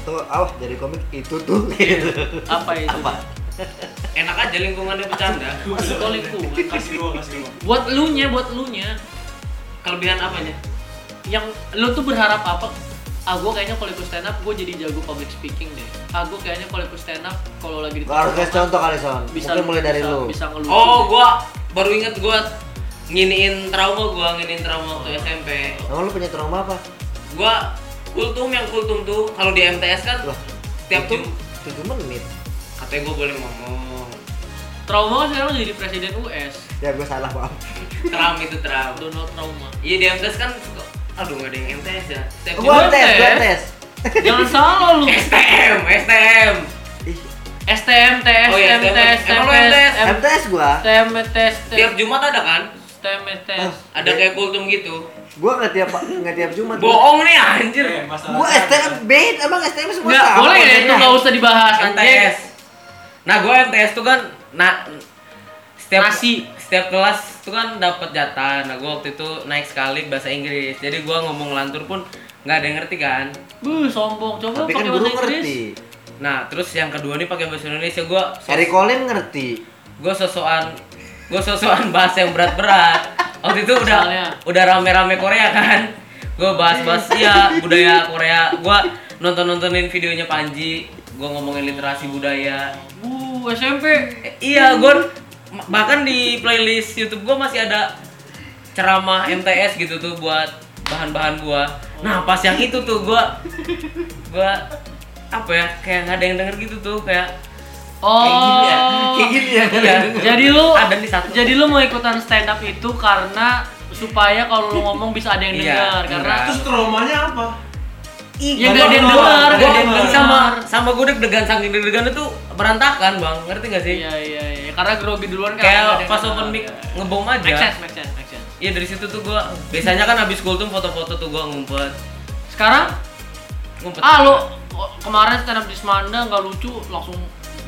Atau awah dari komik itu tuh gitu.
Apa itu?
Apa?
enak aja lingkungannya bercanda
Itu lingkungan.
Nah, Kasih ruang, kasih ruang.
Buat lu nya, buat lu nya.
kelebihan apanya
yang lu tuh berharap apa ah gue kayaknya kalau ikut stand up gue jadi jago public speaking deh ah gue kayaknya kalau ikut stand up kalau lagi di
Lu harus kasih contoh kali, Son. Mungkin mulai dari
bisa,
lu.
bisa ngelucu
oh gua baru inget gua nginiin trauma gua nginiin trauma waktu SMP
Emang lu punya trauma apa?
gua kultum yang kultum tuh kalau di MTS kan
Lah,
tiap
tujuh-
jum
tujuh menit.
katanya gua boleh ngomong
trauma kan sekarang jadi presiden US
Ya gue salah, maaf.
tram itu tram
Donald trauma
Iya di MTS kan suka aduh nggak ada yang MTS ya. Setiap
Gue
Gua-
Jumat-
tes, gue
tes.
tes.
jangan salah lu
STM, STM.
Ih,
STM TS
Oh iya,
STM TS
STM. Emang lu
TS
Em-
MTS gue,
STM TS
Tiap Jumat ada kan?
STM
Ah.
TS
Ada kayak kultum gitu.
gue nggak tiap nggak tiap Jumat.
Bohong nih anjir.
Eh, masalah
Gue
saya-
STM bed, emang STM semua
nggak boleh ya itu nggak usah dibahas anjing
MTS. Nah, gua MTS tuh kan nah setiap
Nasi.
setiap setiap kelas tuh kan dapat jatah nah gua waktu itu naik sekali bahasa Inggris jadi gua ngomong lantur pun nggak ada yang ngerti kan
Buh, sombong. Coba
Tapi kan
pakai
guru
bahasa Inggris.
ngerti.
nah terus yang kedua nih pakai bahasa Indonesia gua sos-
Eric Colin ngerti.
gua sosokan gua sosokan bahas yang berat-berat waktu itu udah
Misalnya?
udah rame-rame Korea kan gua bahas-bahas ya budaya Korea gua nonton-nontonin videonya Panji gua ngomongin literasi budaya
Buh, SMP.
Eh, Iya, Gon. Ma- Bahkan di playlist YouTube gua masih ada ceramah MTS gitu tuh buat bahan-bahan gua. Nah, pas yang itu tuh gua gua apa ya? Kayak nggak ada yang denger gitu tuh, kayak
Oh.
Kayak gini ya.
iya.
Jadi lu
ada nih satu.
Jadi lu mau ikutan stand up itu karena supaya kalau lu ngomong bisa ada yang
Iya,
dengar karena
enggak.
Terus traumanya apa?
ya gak ada yang
Gua-
dengar, gak
gua-
ada yang
gua-
dengar.
sama sama gue deg-degan saking deg-degan itu berantakan, Bang. Ngerti gak sih?
Iya iya iya karena grogi duluan kan nggak ada
Kayak
yang
pas
dengar.
open mic
Iya, iya.
ngebom
Make
aja.
sense, make sense, make sense.
Iya dari situ tuh gua biasanya kan habis kultum foto-foto tuh gua ngumpet.
Sekarang
Ngumpet.
ah lu oh, kemarin stand up di Semanda nggak lucu langsung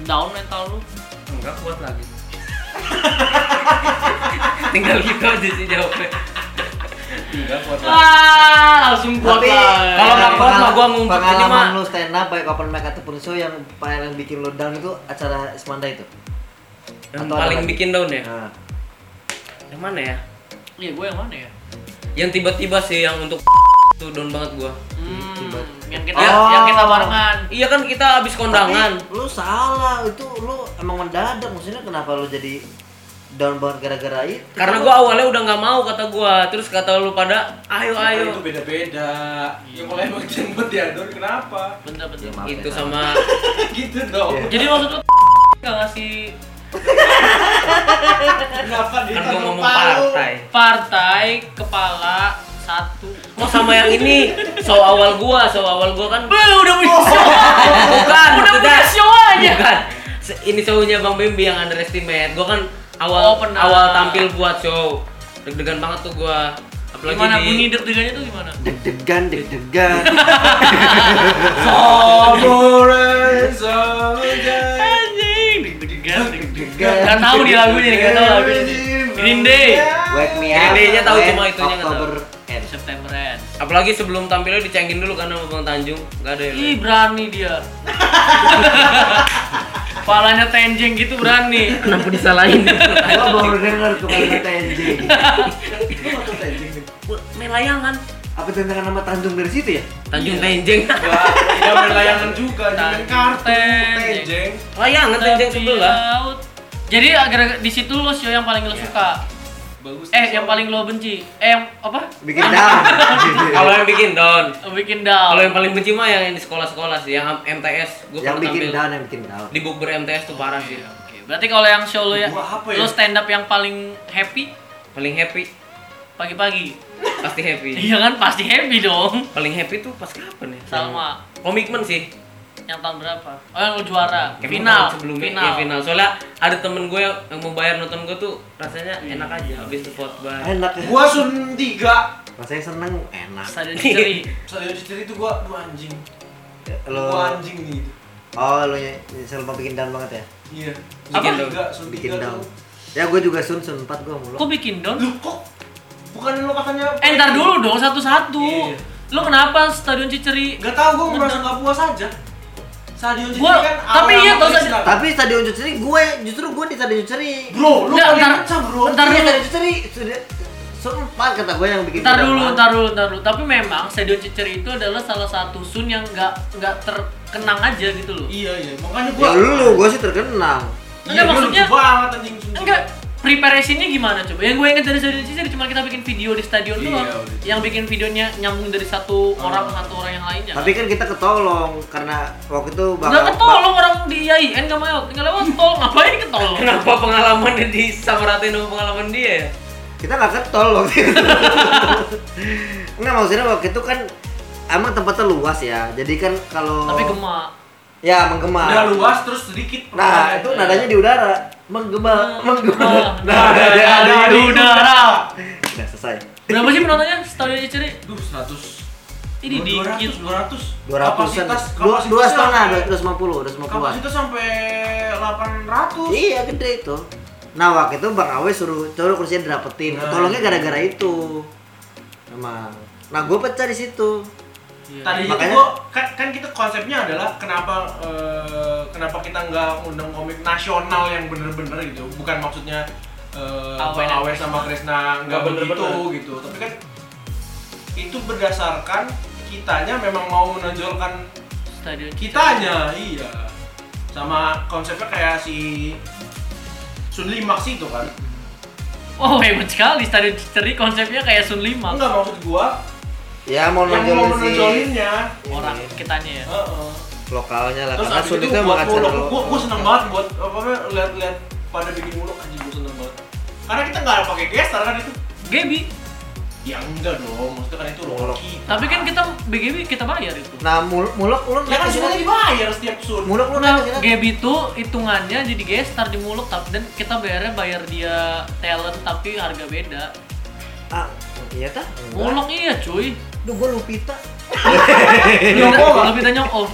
down mental lu.
Enggak kuat lagi. Tinggal gitu aja sih jawabnya. Enggak kuat lagi.
Ah, langsung kuat
Tapi
lah.
Kalau nggak kuat mah gua ngumpet ini,
Pengalaman
Mak.
lu stand up baik open mic ataupun show yang paling bikin lu down itu acara Semanda itu.
Yang
Atau ada
paling
lagi?
bikin down ya.
Nah,
Yang mana ya?
Iya, gue yang mana ya?
Yang tiba-tiba sih yang untuk tuh down banget gua.
Hmm,
Tiba-
yang kita
Oh.
yang kita barengan.
Iya kan kita habis kondangan.
Tapi lu salah, itu lu emang mendadak maksudnya kenapa lu jadi down banget gara-gara itu?
Karena gua awalnya udah nggak mau kata gua, terus kata lu pada ayo ayo.
Itu beda-beda. Ya kalau emang jemput diatur kenapa?
Bener bener.
Ya, maaf
Itu
ya.
sama
gitu dong.
Iya.
Jadi maksud lu nggak ngasih
Kenapa dia
kan gua
taruh
ngomong
palu?
partai.
partai kepala satu
Mau Oh, sama yang ini, show awal gua, show awal gua kan
Beuh, udah punya show
bukan
udah
maksudnya-
punya show aja
Bukan. Se- Ini shownya Bang Bimbi yang underestimate. Gua kan
Oh,
awal
pernah.
awal tampil buat show. Deg-degan banget tuh gua. Apalagi
gimana
di
bunyi deg-degannya tuh gimana
deg-degan, deg-degan.
Samurai soldier.
anjing deg-degan deg-degan nggak tahu nih lagunya nggak tahu lagunya Green Day
Wake me
Green
up.
Day-nya tahu
when
cuma itunya nggak tahu.
Oktober end.
September Ends
apalagi sebelum tampilnya dicengin dulu kan sama Bang Tanjung. Gak ada
ih
yang.
berani dia Palanya tenjeng gitu berani
Kenapa disalahin?
Gua baru denger tuh kata TNJ.
Lu nonton anjing nih.
Main
kan?
layangan.
Apa tantangan nama Tanjung dari situ ya?
Tanjung
Iya.
Tenjeng.
Wah, ya main layangan juga,
Nah,
main kartu, tenjeng.
Layangan Tenjeng
Tapi ya.
sebelah.
laut. jadi agar di situ lo show yang paling lo
Iya.
suka
Bagus.
eh yang paling lo benci eh yang apa
Bikin down. Iya.
Kalau yang bikin down.
bikin down
Kalau yang paling benci mah yang di sekolah-sekolah sih, yang MTS. Gua
yang
pernah
bikin
tampil
down, yang bikin down.
di bukber MTS tuh parah sih.
Oke, berarti kalau yang show lo ya,
Gua apa ya?
lo stand up yang paling happy
Paling happy,
pagi-pagi.
pasti happy.
Iya kan pasti happy dong.
paling happy tuh pas kapan ya?
Salma,
Komitmen sih.
yang tahun berapa? Oh yang lo juara,
Kayak
final,
tahun sebelumnya
final.
final. Ya, final. Soalnya ada temen gue yang yang mau bayar nonton gue tuh rasanya
Hmm.
enak aja habis support bar.
Enak ya.
Gua sun tiga.
Rasanya seneng, enak.
Stadion Ceri.
Saya cerita itu gua aduh anjing.
Ya, Lo,
Gua anjing nih.
oh lo nyesel mau bikin down banget ya?
Iya.
Apa?
Sun tiga, sun
Bikin
tiga
down.
tuh.
Ya gue juga sun sun empat gue mulu.
Kok bikin down?
Lu kok bukan lu katanya
Eh ntar dulu dong satu-satu.
Iya.
Lo kenapa Stadion Ciceri?
Gak tau, gue merasa gak puas aja Stadion Cici
Gua-
kan
tapi
awal
iya tau,
Krisna.
Tapi stadion Jutseri gue justru gue di stadion Jutseri.
Bro, lu
Nggak,
paling
ntar-
kencang bro
ntar
Iya,
dulu.
stadion Jutseri sudah sun empat kata gue yang bikin.
Ntar
down
dulu,
banget.
ntar dulu, ntar dulu. Tapi memang Stadion Ciceri itu adalah salah satu sun yang nggak nggak terkenang aja gitu loh.
Iya, iya, makanya gue
Ya lu, gue sih terkenal.
Enggak, maksudnya-
banget anjing Sun Cici.
Enggak, preparationnya gimana coba? Yang gue inget dari Stadion Ciceri cuma kita bikin video di stadion
Iya,
doang.
udah. Oh.
Yang bikin videonya nyambung dari satu orang ke satu orang yang lainnya.
Tapi kan kita ketolong karena waktu itu
Enggak
bakal.
ketolong orang di IAIN gak mau, tinggal lewat tol, ngapain ketolong?
Kenapa pengalamannya disamaratin sama pengalaman
Iya.
dia ya?
kita nggak ketol waktu itu nggak maksudnya waktu itu kan emang tempatnya luas ya jadi kan kalau
Tapi gemak.
ya menggema
Udah luas terus sedikit
nah itu nadanya di udara
Nah,
menggema menggema
ya.
nadanya ada
Ada di udara.
udah selesai
Berapa sih penontonnya Stadion Ciceri?
Duh, 100
Ini dikit.
200, 200
dua ratusan
Kapasitas,
dua
kapasitas
dua setengah
sampai-
dua ratus lima puluh dua ratus lima puluh
Kapasitas sampai 800
iya gede itu Nah waktu itu Bang Awe suruh suruh kursinya
Nah.
dirapetin. Tolongnya gara-gara itu. Emang. Nah gue pecah di situ. Iya.
Tadi
Makanya-
itu gua- kan, kan kita konsepnya adalah kenapa eh, kenapa kita nggak undang komik nasional yang bener-bener gitu, bukan maksudnya eh,
Awe
Bang
dan
Awe sama Krisna nggak
Nggak
begitu
bener-bener.
gitu, tapi kan itu berdasarkan kitanya memang mau menonjolkan
Stadion
kitanya, iya. Sama konsepnya kayak si Sunli Max itu kan.
Wow, hebat sekali Stadion Ciceri konsepnya kayak Sun Lima.
Enggak maksud gua
Ya mau
yang mau
nonjolin si
menonjolinnya.
Orang kitanya ya.
Heeh.
lokalnya lah.
Terus
Karena
abis itu
sulitnya
buat
emang acara
muluk, gua, gua
lokal.
seneng banget buat apa namanya lihat-lihat pada bikin muluk anjing gua seneng banget. Karena kita nggak pakai gestar kan itu.
Gebi.
Ya enggak dong, maksudnya kan itu
Muluk.
Rocky.
Tapi kan kita BGB kita bayar itu.
Nah muluk muluk lu
Ya
naik
kan
ke
sudah
sini.
dibayar setiap sur.
Muluk Iya, lu
Nah,
naik ke sini.
Gebi itu hitungannya jadi gestar di muluk tapi dan kita bayarnya bayar dia talent tapi harga beda.
Ah iya tak?
Muluk iya cuy.
Duh gue lupita. Eh,
Nyokong lebih tanya oh.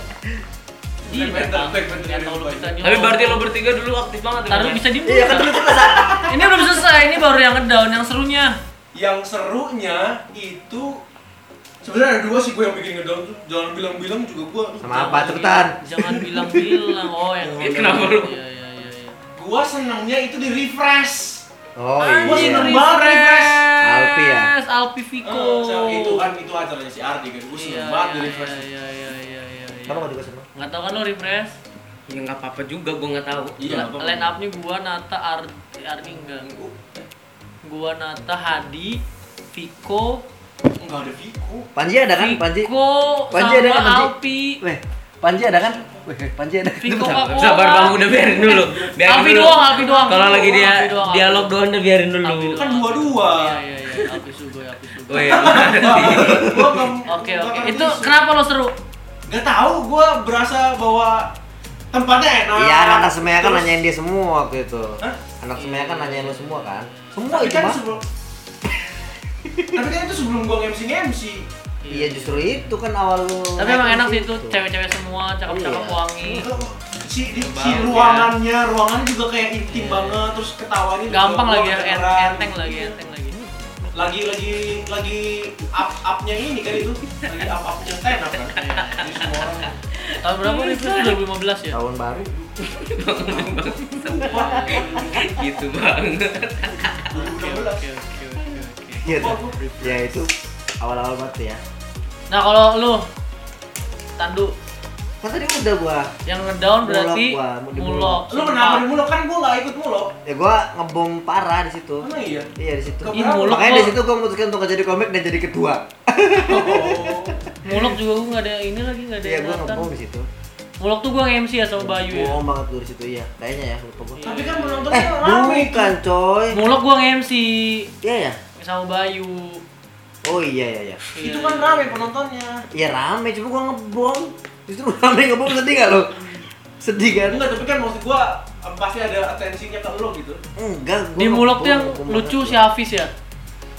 Iya,
Back, back, back, back,
nggak tahu
back,
lebih
back.
tanya.
Tapi berarti lo bertiga dulu aktif banget. ya?
Taruh
Bang.
bisa di
Iya kan dulu kita sa-
Ini belum selesai, ini baru yang ngedown, yang serunya.
Yang serunya itu sebenarnya ada dua sih gua yang bikin ngedown tuh. Jangan bilang-bilang juga gua.
Sama apa cepetan?
Jangan bilang-bilang. Oh, yang
Ini kenapa lu?
Iya, iya, iya, iya.
Gua senangnya itu di refresh.
Oh
Gua
iya.
seneng banget refresh.
Alpi
Alpi ya?
Alpi Vico.
Eh, sama itu kan itu acaranya si Ardi kan. Gua seneng banget di refresh.
Iya, iya, iya, iya, iya.
Kamu nggak juga seneng?
Nggak tahu kan lo refresh?
Ya nggak apa-apa juga, gue nggak tahu.
La-
Iya, nggak apa-apa.
Line up-nya gua Nata Ardi Ardi enggak. Gua Nata Hadi Vico,
Enggak ada Viko.
Panji ada kan? Panji.
Vico
Panji ada
sama
kan, Panji?
Alpi.
Weh, Panji ada kan? Weh, Panji ada.
Vico Pakola.
Sabar bang, udah biarin dulu. Biarin
Eh, Alfi
dulu.
doang, Alfi doang.
Kalau lagi dia
Alfi doang, Alfi
dialog doang, udah biarin dulu.
Alfi doang.
Kan dua-dua.
Iya, iya, iya. Alpi Sugoi, Alpi Sugoi.
Oh iya, benar.
Gua nggak-
Oke,
nggak
oke.
ngerti
Itu
sih.
kenapa lo seru?
Gak tau, gue berasa bahwa tempatnya enak.
Iya, anak anak semea kan
Terus-
nanyain dia semua waktu itu.
Hah?
Anak semea kan nanyain lu semua kan? Semua
Tapi
itu
kan
mah.
sebelum Tapi kan itu sebelum gue MC MC.
Iya justru itu kan awal lu.
Tapi emang enak sih itu cewek-cewek semua, cakep-cakep
Iya.
wangi.
Si, di, si
Bau,
ruangannya, ruangannya juga kayak
Iya.
intim banget, terus ketawanya juga
Gampang
gua
lagi ya,
kedengeran.
en- enteng lagi, enteng lagi.
Lagi lagi lagi up upnya ini kan itu, lagi up upnya stand up kan. Jadi semua orang.
Tahun berapa nih? 2015 ya?
Tahun baru.
gitu banget.
Oke, oke, oke, oke, oke.
Iya. tuh. Ya itu awal-awal banget ya.
Nah kalau lu Tandu
Kan tadi udah gua.
yang ngedown
Mulok
berarti
gua, mau di
mulok.
Lu kenapa di mulok kan gue gak ikut mulok?
Ya gua ngebom parah di situ.
Emang iya.
Iya di situ.
Ke-
Ih, mulok
Makanya
lo-
di situ gua memutuskan untuk gak jadi komik dan jadi ketua.
iya.
Oh.
mulok juga gua nggak ada ini lagi nggak ada
Iya gua
ingatan.
ngebom di situ.
Mulok tuh gua nge-MC ya sama Bayu ya.
Bohong banget gua di situ iya. Kayaknya ya lupa gua.
Tapi kan
Eh,
penontonnya rame itu.
bukan coy.
Mulok gua nge-MC
Iya ya.
sama Bayu.
Oh iya iya iya.
Itu kan rame penontonnya.
Iya rame, cuma gua ngebom. Justru rame ngebom sedih gak lo? Sedih kan?
Enggak, tapi kan maksud gua em, pasti ada atensinya ke lo gitu.
Enggak, gua
Di mulok tuh yang
ngebom, gua
lucu
ngebom.
si Hafiz ya.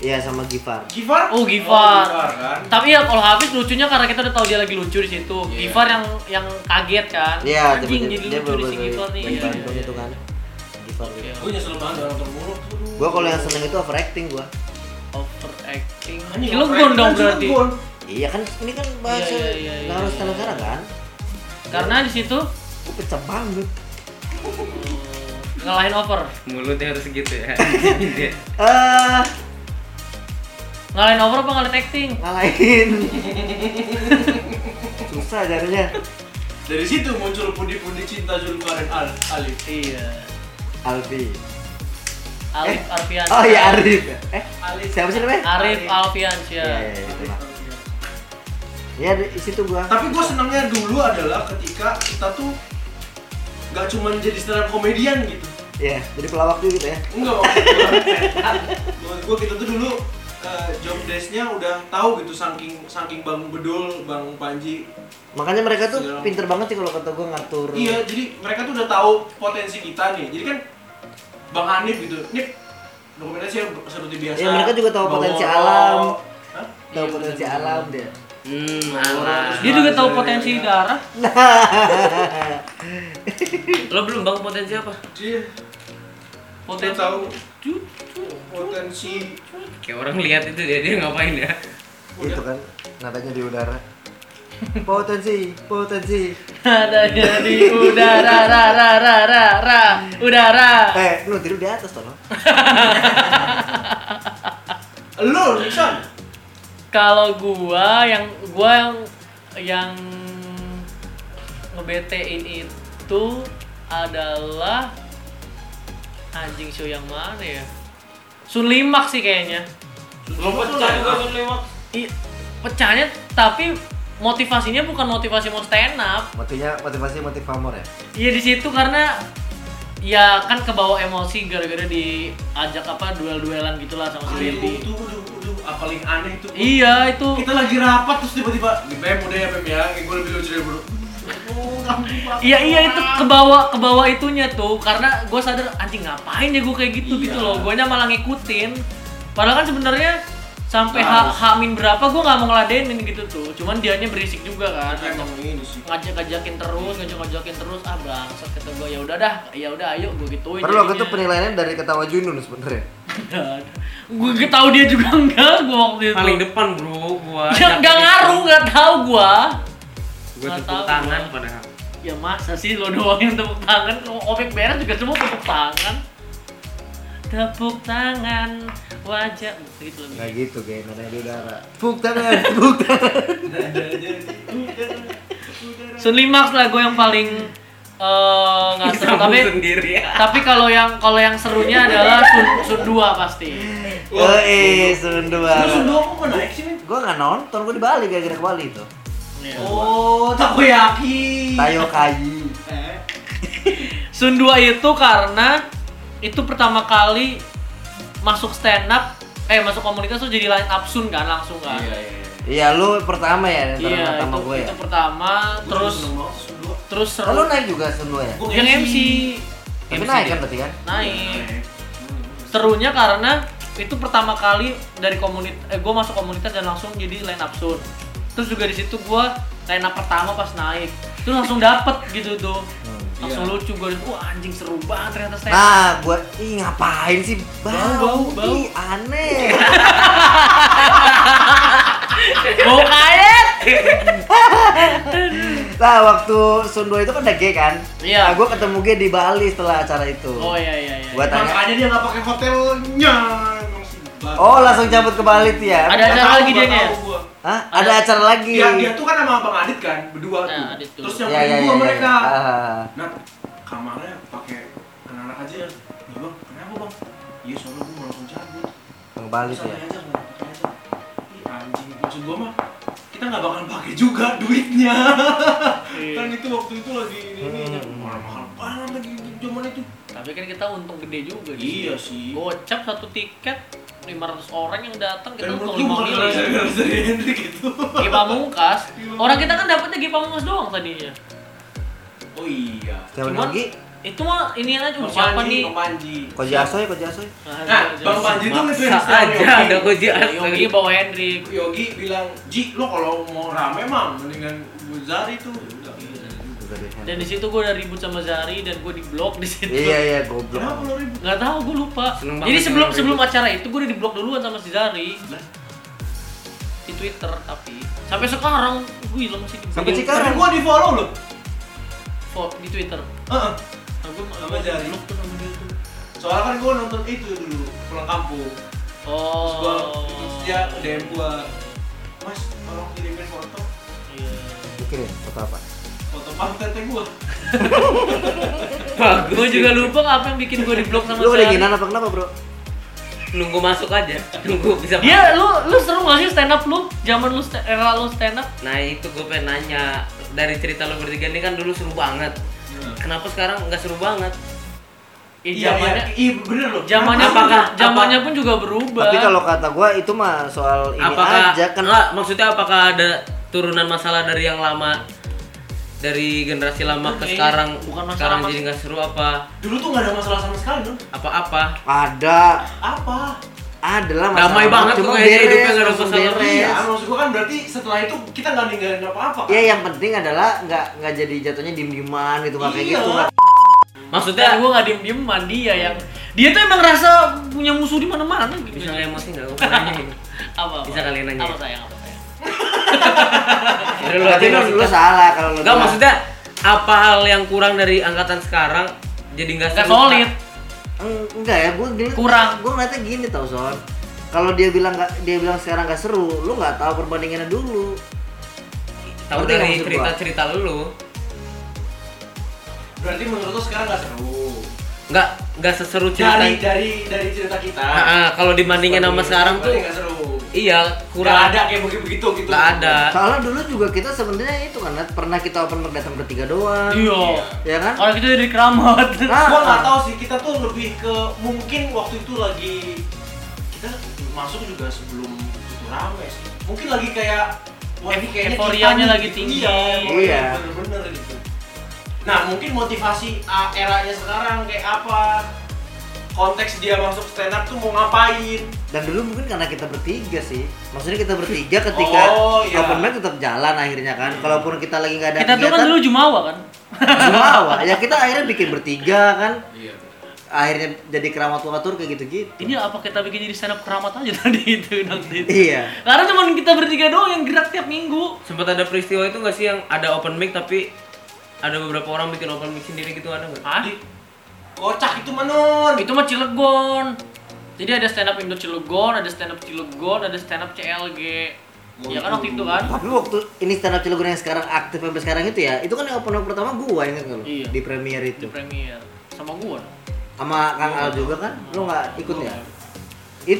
Iya sama Gifar.
Givar?
Oh, Givar.
kan.
Tapi ya kalau Hafiz lucunya karena kita udah tahu dia lagi lucu di situ.
Iya.
Givar yang yang kaget kan.
Iya, tiba-tiba
Anjing jadi
dia
lucu di
baru-baru
si Givar nih.
dari
Iya,
Bandung
iya,
itu kan. Gifar. gitu.
iya.
Gua nyesel banget orang terburuk. Aduh.
Gua kalau yang seneng itu overacting gua.
Overacting.
Anjing,
Lu
overacting
gon dong
kan juga
berarti.
gon.
Iya kan ini kan bahasa
Iya, iya, iya,
harus
iya,
tanah
iya.
sana kan.
Karena di situ
Gua pecah banget.
oh, ngalahin over.
Mulutnya harus gitu ya.
Eh,
Ngalahin over apa ngalahin acting?
ngalahin. Susah jadinya.
Dari situ muncul pundi-pundi cinta Zulkarnain Al Alif.
Iya.
Alfi.
Alif
Eh?
Alfian.
Oh iya Arif. Eh,
Alif.
siapa sih namanya?
Arif
Arif.
Alfiansyah.
Iya, iya, itu lah. Iya, di di situ gua.
Tapi gua senangnya dulu adalah ketika kita tuh gak cuma jadi stand up komedian gitu.
Iya, jadi pelawak juga gitu ya.
Enggak maksud gua. Maksud gua kita tuh dulu eh, job desk-nya udah tahu gitu saking saking Bang Bedul, Bang Panji
Makanya mereka tuh
Iya.
pinter banget sih kalau kata gua ngatur.
Iya, jadi mereka tuh udah tahu potensi kita nih. Jadi kan Bang Hanif gitu, Nif dokumentasi yang seperti biasa.
Ya, mereka juga tahu potensi
Baworo.
alam.
Hah?
Tahu potensi
Iya,
alam dia.
Hmm,
alah.
Dia juga tahu potensi darah.
Iya.
Lo belum bang potensi apa?
Dia Dia
potensi
tahu
Cut, cut.
potensi
kayak orang lihat itu dia dia ngapain ya
Itu kan nadanya di udara. Potensi, potensi.
ada jadi udara ra ra ra ra ra udara
Eh, lu tidur di atas toh. lo.
lu Nixon
kalau gua yang gua yang yang ngebetein itu adalah anjing show yang mana ya Sun Limak sih kayaknya
lu pecah juga lu lewat
I- pecahnya tapi motivasinya bukan motivasi mau stand up
Motivasinya motivasi motif pamor ya.
Iya di situ karena ya kan kebawa emosi gara-gara diajak apa duel-duelan gitulah sama si Lady.
itu udah udah apa paling aneh itu
Iya itu
kita lagi rapat terus tiba-tiba di PM udah ya PM ya kayak gue lebih lucu dari bro Oh, kampung banget.
Iya iya itu kebawa kebawa itunya tuh karena gue sadar anjing ngapain ya gue kayak gitu
Iya.
gitu loh gue malah ngikutin padahal kan sebenarnya sampai
Nah.
H min berapa gue nggak mau ngeladenin gitu tuh cuman dianya berisik juga kan
Tapi Iya, emang ini sih
ngajak ngajakin terus ngajak ngajakin terus ah bangsat kata gue ya udah dah ya udah ayo gue gituin
Padahal waktu itu
jadinya."
penilaiannya dari ketawa Junun sebenarnya.
gue gak tau dia juga enggak gue waktu itu
paling depan bro gua
Ya, nggak ngaruh nggak tahu gua
gua
Nggak
tepuk
tahu
tangan
gua.
padahal
ya masa sih lo doang yang tepuk tangan opik beres juga semua tepuk tangan tepuk tangan wajah gitu
Enggak
lebih
gitu, geng. Nadanya di udara. Tepuk tangan, tepuk tangan.
Sunli Max lah gue yang paling eh nggak seru
Kamu
tapi
sendiri ya
tapi kalau yang kalau yang serunya adalah Sun Sun 2 pasti
Woi, Sun dua.
Lu sundok kok pernah naik sih, men?
Gua nggak nonton, gua di Bali gara-gara ke Bali itu.
Oh,
Iya.
takoyaki.
Tayo kayu.
Eh,
Sun 2 itu karena itu pertama kali masuk stand up eh masuk komunitas tuh jadi line up Sun kan langsung kan
Iya, lu pertama ya, antara
Iya,
pertama
itu,
gue ya.
itu pertama, terus terus
Oh, lu
seru.
naik juga Sun dua ya?
Yang MC
Tapi
MC
naik
dia.
kan berarti kan?
naik. Serunya karena itu pertama kali dari komunitas eh, gue masuk komunitas dan langsung jadi line up soon. Terus juga di situ gue line up pertama pas naik. Terus langsung dapet gitu tuh. Langsung
Iya.
lucu gue, wah anjing seru banget ternyata stand up.
Nah, gua ih ngapain sih?
bau,
Bau,
bau. Iya.
bau, Ih, aneh. Nah.
Bau karet.
Lah, Nah, waktu Sun dua itu kan ada gay kan?
Iya.
Nah, gua ketemu gay di Bali setelah acara itu.
Oh iya iya iya.
Gua tanya,
Makanya dia nggak pakai hotelnya. Emang si bang.
"Oh, langsung cabut ke Bali tuh ya?"
Ada
Nggak
acara
tahu,
lagi
nggak
dianya?
tahu gua.
Hah? Ada acara lagi.
Iya,
Iya,
Dia, dia tuh kan sama Bang Adit kan, berdua
Nah,
tuh.
Adit tuh.
Terus nyamperin gua mereka.
Ah.
Nah, kamarnya pakai anak-anak aja ya. Nih, bang, kenapa bang? Iya, soalnya gua mau langsung cabut.
Bang Bali tuh
Santai
ya.
aja, santai aja. Ih, anjing, maksud gua mah kita nggak bakal pakai juga duitnya. kan itu waktu itu lagi ini, ini mahal mahal banget lagi zaman itu.
Tapi kan kita untung gede juga
Iya sih.
Gocap satu tiket 500 orang yang datang kita
Dan menurut
untung
lu
5
bukan
miliar.
gara-gara dari Hendrik gitu. itu.
G Pamungkas. Orang kita kan dapetnya G Pamungkas doang tadinya.
Oh iya.
Siapa
Cuman-
lagi?
Itu mah ini aja
Bang
siapa
Panji,
nih?
Bang Panji.
Koji Asoy, Koji Asoy.
Nah, Bang Panji tuh nge-tweet
Maksa
story
aja ada
Yogi.
koji
Yogi Iya,
iya.
bawa Hendrik.
Yogi bilang, Ji, lo kalau mau rame mah mendingan Guzari tuh. Ya udah.
Dan di situ gue udah ribut sama Zari dan gue di blok di situ.
Iya, iya, goblok.
Kenapa lo ribut?
Gak tau, gue lupa.
Seneng banget
Jadi sebelum
sama
sebelum acara itu gue udah di blok duluan sama si Zari
Lah,
di Twitter tapi sampai sekarang gue hilang sih di
Sampai
blok.
Cika- Sekarang.
Tapi gua di follow lo.
Fo- di Twitter.
Heeh.
Nah, gue
Sama
gue
Zari.
di blok tuh sama dia tuh.
Soalnya kan gua nonton itu dulu pulang kampung. Terus gua
Oh.
terus dia DM gua, Mas, tolong kirimin foto
Iya.
Pikirin foto apa?
foto pantai teh gua.
bagus
Gue juga lupa apa yang bikin gue di blok sama
Lu udah
Zari.
ginan apa kenapa, Bro?
nunggu masuk aja nunggu bisa
Iya, lu lu seru gak sih stand up lu? Zaman lu sta- era lu stand up?
nah itu gue pengen nanya dari cerita lo bertiga ini kan dulu seru banget kenapa sekarang nggak seru banget
Eh,
Iya, iya,
zamannya
iya bener lo.
zamannya
Apakah-
pun, zamannya pun juga berubah.
Tapi kalau kata gua itu mah soal ini
apakah
aja kan
nggak, maksudnya apakah ada turunan masalah dari yang lama dari generasi lama ke
Bukan,
sekarang
bukan masalah
sekarang
mas-
jadi nggak seru apa
Dulu tuh nggak ada masalah sama sekali dong.
apa-apa
ada
Apa?
adalah masalah
Damai banget
cuma
tuh kayaknya
beres,
hidupnya nggak ada
langsung
masalah.
beres.
Iya, maksud gua kan berarti setelah itu kita nggak
Iya,
ninggalin apa-apa kan?
ya yang penting adalah nggak nggak jadi jatuhnya diem dieman gitu nggak kayak
Iya.
gitu nggak
Maksudnya-
gue nggak diem diem mandi ya yang dia tuh emang rasa punya musuh di mana mana gitu.
Bisa emosi nggak? Gua mau nanya ini.
apa, apa?
Bisa kalian nanya.
Apa sayang apa sayang?
Jadi lu kan
Berarti
aja
lu, lu
maksudnya.
salah kalau lu
Enggak
bilang.
maksudnya apa hal yang kurang dari angkatan sekarang jadi nggak
Gak
seru?
solid.
Eng- enggak ya gue gini
Kurang.
gue ngeliatnya gini tau son kalau dia bilang nggak dia bilang sekarang nggak seru lu nggak tahu perbandingannya dulu
Tahu
Ngerti nggak
dari
maksud gua?
cerita-cerita lu,
Berarti menurut lo sekarang nggak seru.
nggak nggak seseru cerita.
Dari dari dari cerita kita.
Ah, ah, kalau dibandingin sama sekarang tuh
berarti nggak seru.
iya
Kurang
kurang
ada kayak begitu begitu gitu.
nggak ada.
soalnya dulu juga kita sebenarnya itu kan Nat, pernah kita open mic datang bertiga doang
Iya.
ya kan
Orang kita dari keramat.
Nah,
Gua nggak tahu sih kita tuh lebih ke mungkin waktu itu lagi kita masuk juga sebelum itu rame sih. Mungkin lagi kayak wah ini kayaknya kita
Euforianya
nih,
lagi
gitu.
tinggi.
Iya,
Iya.
bener-bener gitu. Nah mungkin motivasi ah, eranya sekarang kayak apa? Konteks dia masuk stand up tuh mau ngapain?
dan dulu mungkin karena kita bertiga sih maksudnya kita bertiga ketika
Oh, iya.
open mic tetap jalan akhirnya kan kalaupun kita lagi nggak ada
Iya. Kita tuh kan dulu jumawa kan.
jumawa. ya kita akhirnya bikin bertiga kan
Iya.
akhirnya jadi keramat ngatur kayak gitu gitu
Ini apa kita bikin jadi stand up keramat aja tadi itu nanti. itu.
iya
Karena cuma kita bertiga doang yang gerak tiap minggu.
Sempat ada peristiwa itu nggak sih yang ada open mic tapi ada beberapa orang bikin open mic sendiri gitu ada nggak?
Hah?
Kocak itu menon.
Itu mah Cilegon. Jadi ada stand up Indo Cilegon, ada stand up Cilegon, ada stand up CLG. Ya kan waktu itu kan?
tapi waktu ini stand up Cilegon yang sekarang aktif sampai sekarang itu ya itu kan yang open mic pertama gua inget nggak lu
Iya.
di premier
Di Iya.
itu
premier sama gua.
sama Kang Al juga kan lu nggak ikut
Iya.
ya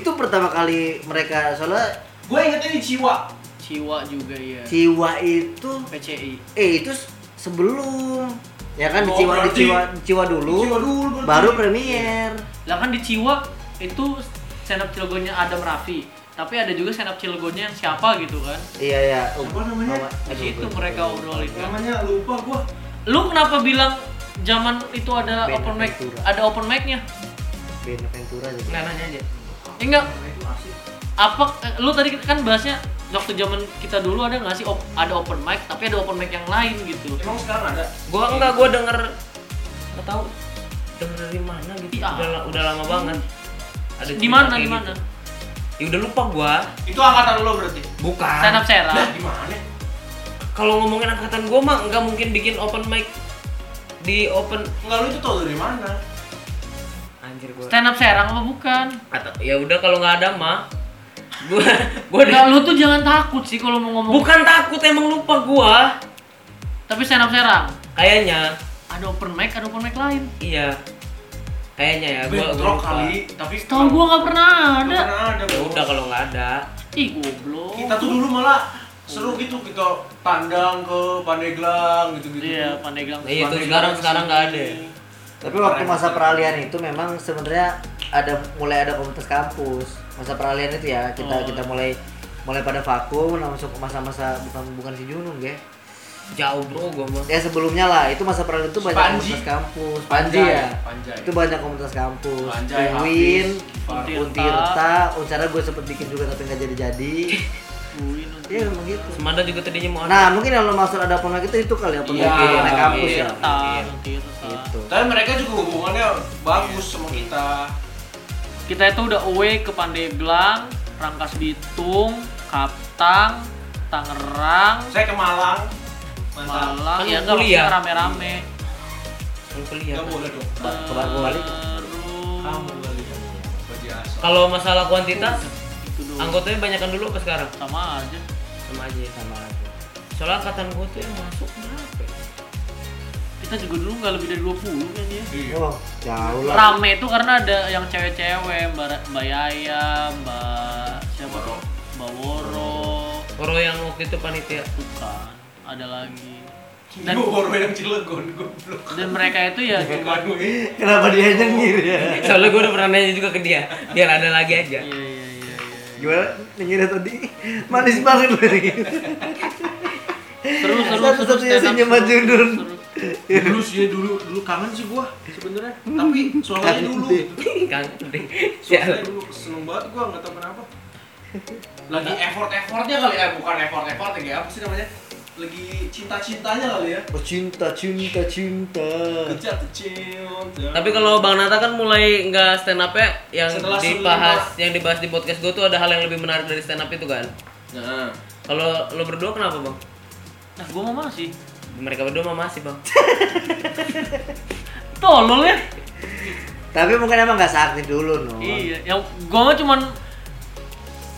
itu pertama kali mereka soalnya
Gue ingetnya di Ciwa.
Ciwa juga ya.
Ciwa itu
PCI.
eh itu s- sebelum ya kan di
Oh,
Ciwa di
berarti-
Ciwa di Ciwa dulu
Di Ciwa dulu berarti.
baru premier
Lah kan di Ciwa itu stand up Cilegonnya Adam Raffi. Tapi ada juga stand up Cilegonnya yang siapa gitu kan.
iya ya
Apa namanya?
Di situ mereka obrolin kan.
Namanya lupa gua.
Lu kenapa bilang zaman itu ada
Ben
open mic,
Ventura.
ada open mic-nya?
Benaventura juga
Nggak nanya aja.
Ya enggak,
Nah, itu asik.
apa eh, lu tadi kan bahasnya waktu zaman kita dulu ada nggak sih op- ada open mic tapi ada open mic yang lain gitu
Emang sekarang ada?
Gua enggak, gua denger nggak tahu denger dari mana gitu.
Iya.
Udah, la- udah lama banget. Ada
di
cerita
mana
kayak
di mana
gitu. Ya udah lupa gua.
Itu angkatan lo berarti.
Bukan.
stand up
Nah,
Serang
gimana?
Kalau ngomongin angkatan gua mah nggak mungkin bikin open mic di open
Enggak lu itu tau dari mana?
anjir gua.
stand up Serang apa bukan
Atau ya udah kalau nggak ada mah gua gua
Enggak, lu tuh jangan takut sih kalau mau ngomong
bukan takut emang lupa gua
tapi stand up Serang
kayaknya
ada open mic ada open mic lain
iya kayaknya ya gua, gua
Bentrok
lupa.
kali, tapi
tahu gua nggak pernah
Belum
ada
pernah ada.
ya
Bro.
udah kalau nggak ada
ih goblok
Kita tuh dulu malah seru gitu kita tandang ke Pandeglang gitu-gitu.
iya pandeglang
Iya, itu sekarang- sekarang nggak ada ya?
Tapi waktu masa peralihan itu memang sebenarnya ada mulai ada komunitas kampus. Masa peralihan itu ya kita
Oh.
kita mulai mulai pada vakum langsung ke masa-masa bukan bukan si Junung ya.
jauh bro gua mah
Ya sebelumnya lah itu masa peralihan itu banyak
Panji.
komunitas kampus. Panji
Panjai,
ya.
Panjai.
Itu banyak komunitas kampus.
Panjai,
Win,
Hafiz,
Gifar.
Untirta, Uncara gue sempet bikin juga tapi nggak jadi-jadi. Iya memang gitu.
Semanda juga tadinya mau ada
Nah mungkin yang lo maksud ada open mic itu itu kali ya open mic
Iya,
di anak kampus
iya.
ya.
tar
Gitu.
Tapi mereka juga hubungannya bagus sama
Iya.
kita.
kita itu udah away ke Pandeglang Rangkas Bitung Kaptang Tangerang
Saya ke Malang. Mantap.
Malang
Kan
ya
lu
enggak
kuliah.
maksudnya rame-rame.
Kan kuliah
Enggak
kan.
boleh dong.
Ba- Kemarin gue balik.
Kamu kali. Bagi asal.
kalau masalah kuantitas
itu doang
anggotanya banyakan dulu apa sekarang
sama aja.
sama aja ya.
Sama aja.
soalnya angkatan gua tuh yang masuk berapa ya?
Kita juga dulu nggak lebih dari 20 kan ya.
Iya.
Oh jauh lah.
Rame itu karena ada yang cewek-cewek, Mbak, Ra- Mbak Yaya, Mbak siapa
Woro.
tuh? Mbak Woro,
Koro yang waktu itu panitia
bukan. Ada lagi.
Iya.
Dan
Dan
gue baru yang Cilegon goblok. iya.
dan mereka itu ya
Bukan gue.
Kenapa dia nyengir ya?
soalnya gua udah pernah nanya juga ke dia biar ada lagi aja
Iya iya iya iya.
Gimana nyengirnya tadi? Manis banget loh ini.
Seru seru seru.
Satu-satunya
stand up,
senyum
seru,
Majunun.
seru.
dulu sih ya, dulu dulu kangen sih gua sebenarnya tapi suaranya dulu
kangen deh Ya.
Ya.
suaranya dulu seneng banget gua nggak tahu kenapa lagi effort effortnya kali ya bukan effort effort ya kayak apa sih namanya lagi cinta-cintanya kali ya.
Oh, cinta, cinta, cinta.
Kejar cinta.
Tapi kalau Bang Nata kan mulai nggak stand up ya yang
Setelah
dibahas yang dibahas di podcast gue tuh ada hal yang lebih menarik dari stand up itu kan.
nah,
Kalau lo berdua kenapa bang?
Nah, gua mau masih.
Mereka berdua mah masih bang.
Tolol ya.
Tapi mungkin emang nggak saatnya dulu, no.
Iya, yang gua mah cuman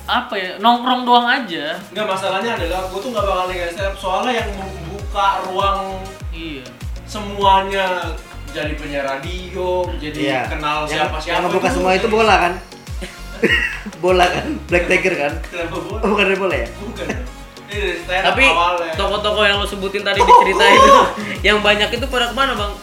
apa ya, nongkrong doang aja.
nggak masalahnya adalah gue tuh nggak bakal negatif stand up soalnya yang membuka ruang
Iya.
semuanya jadi penyiar radio, jadi
Iya.
kenal
Yang-
siapa siapa.
Yang membuka semua itu bola kan? bola kan? Black Tiger kan?
Kenapa
Oh,
bola?
bukan dari bola ya?
Bukan. Ini dari stand up
Tapi
kan awalnya.
toko-toko yang lo sebutin tadi di cerita itu, yang banyak itu pada kemana bang?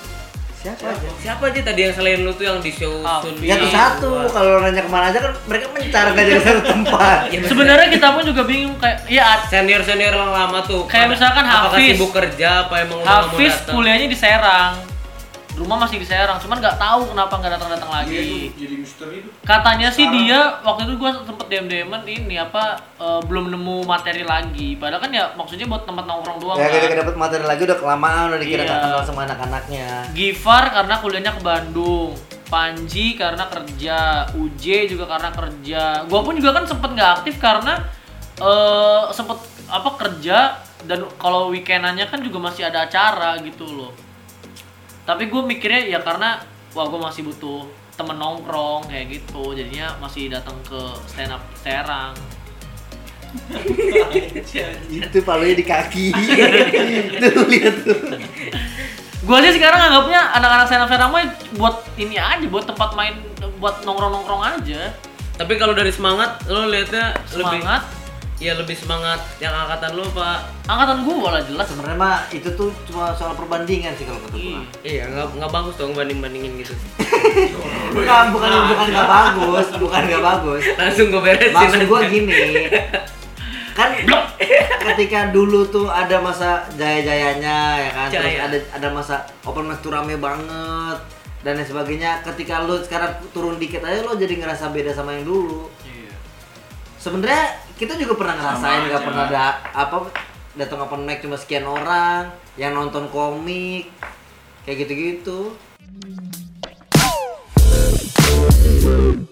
Siapa aja?
Siapa aja tadi yang selain lo tuh yang di show
Ah,
Iya,
Sun
Ya tuh
Bin?
satu, kalau nanya kemana aja kan mereka mencar gak jadi satu tempat.
Iya,
Ya,
Sebenarnya kita pun juga bingung kayak ya Ad-
senior senior yang lama tuh. pada-
Kayak misalkan
apakah
Hafiz.
sibuk kerja apa emang udah nggak mau
Hafiz
datang?
kuliahnya di Serang. Rumah masih di Serang, cuman nggak tahu kenapa nggak datang-datang
Iya, itu
lagi.
jadi misteri itu.
Katanya sih
Sekarang.
dia waktu itu gua sempet dm dman ini apa eh, belum nemu materi lagi. Padahal kan ya maksudnya buat tempat nongkrong doang.
ya
kan.
kita dapat materi lagi udah kelamaan udah dikira nggak
Iya.
kenal sama anak-anaknya.
Gifar karena kuliahnya ke Bandung, Panji karena kerja, UJ juga karena kerja. Gua pun juga kan sempet nggak aktif karena eh sempet apa kerja dan kalau weekendannya kan juga masih ada acara gitu loh. Tapi gue mikirnya ya karena wah gue masih butuh temen nongkrong kayak gitu, jadinya masih datang ke stand up Serang.
Itu palunya di kaki. tuh lihat tuh.
Gua sih sekarang anggapnya anak-anak stand up Serang mah buat ini aja, buat tempat main, buat nongkrong-nongkrong aja.
Tapi kalau dari semangat lo liatnya lebih
Semangat.
ya lebih semangat yang angkatan lo pak
angkatan gua lah jelas
Sebenarnya mah itu tuh cuma soal perbandingan sih kalau kata gua.
Iya, nggak nggak bagus dong banding bandingin gitu.
Bukan bukan bukan
Iya.
nggak bagus, bukan nggak bagus.
Langsung gue beresin.
Maksud gua
aja.
gini. Kan ketika dulu tuh ada masa jaya-jayanya ya kan, terus
Jaya.
ada ada masa open mic tuh rame banget dan lain sebagainya. Ketika lu sekarang turun dikit aja lo jadi ngerasa beda sama yang dulu. Sebenarnya kita juga pernah ngerasain nggak pernah ada apa datang open mic cuma sekian orang yang nonton komik kayak gitu-gitu.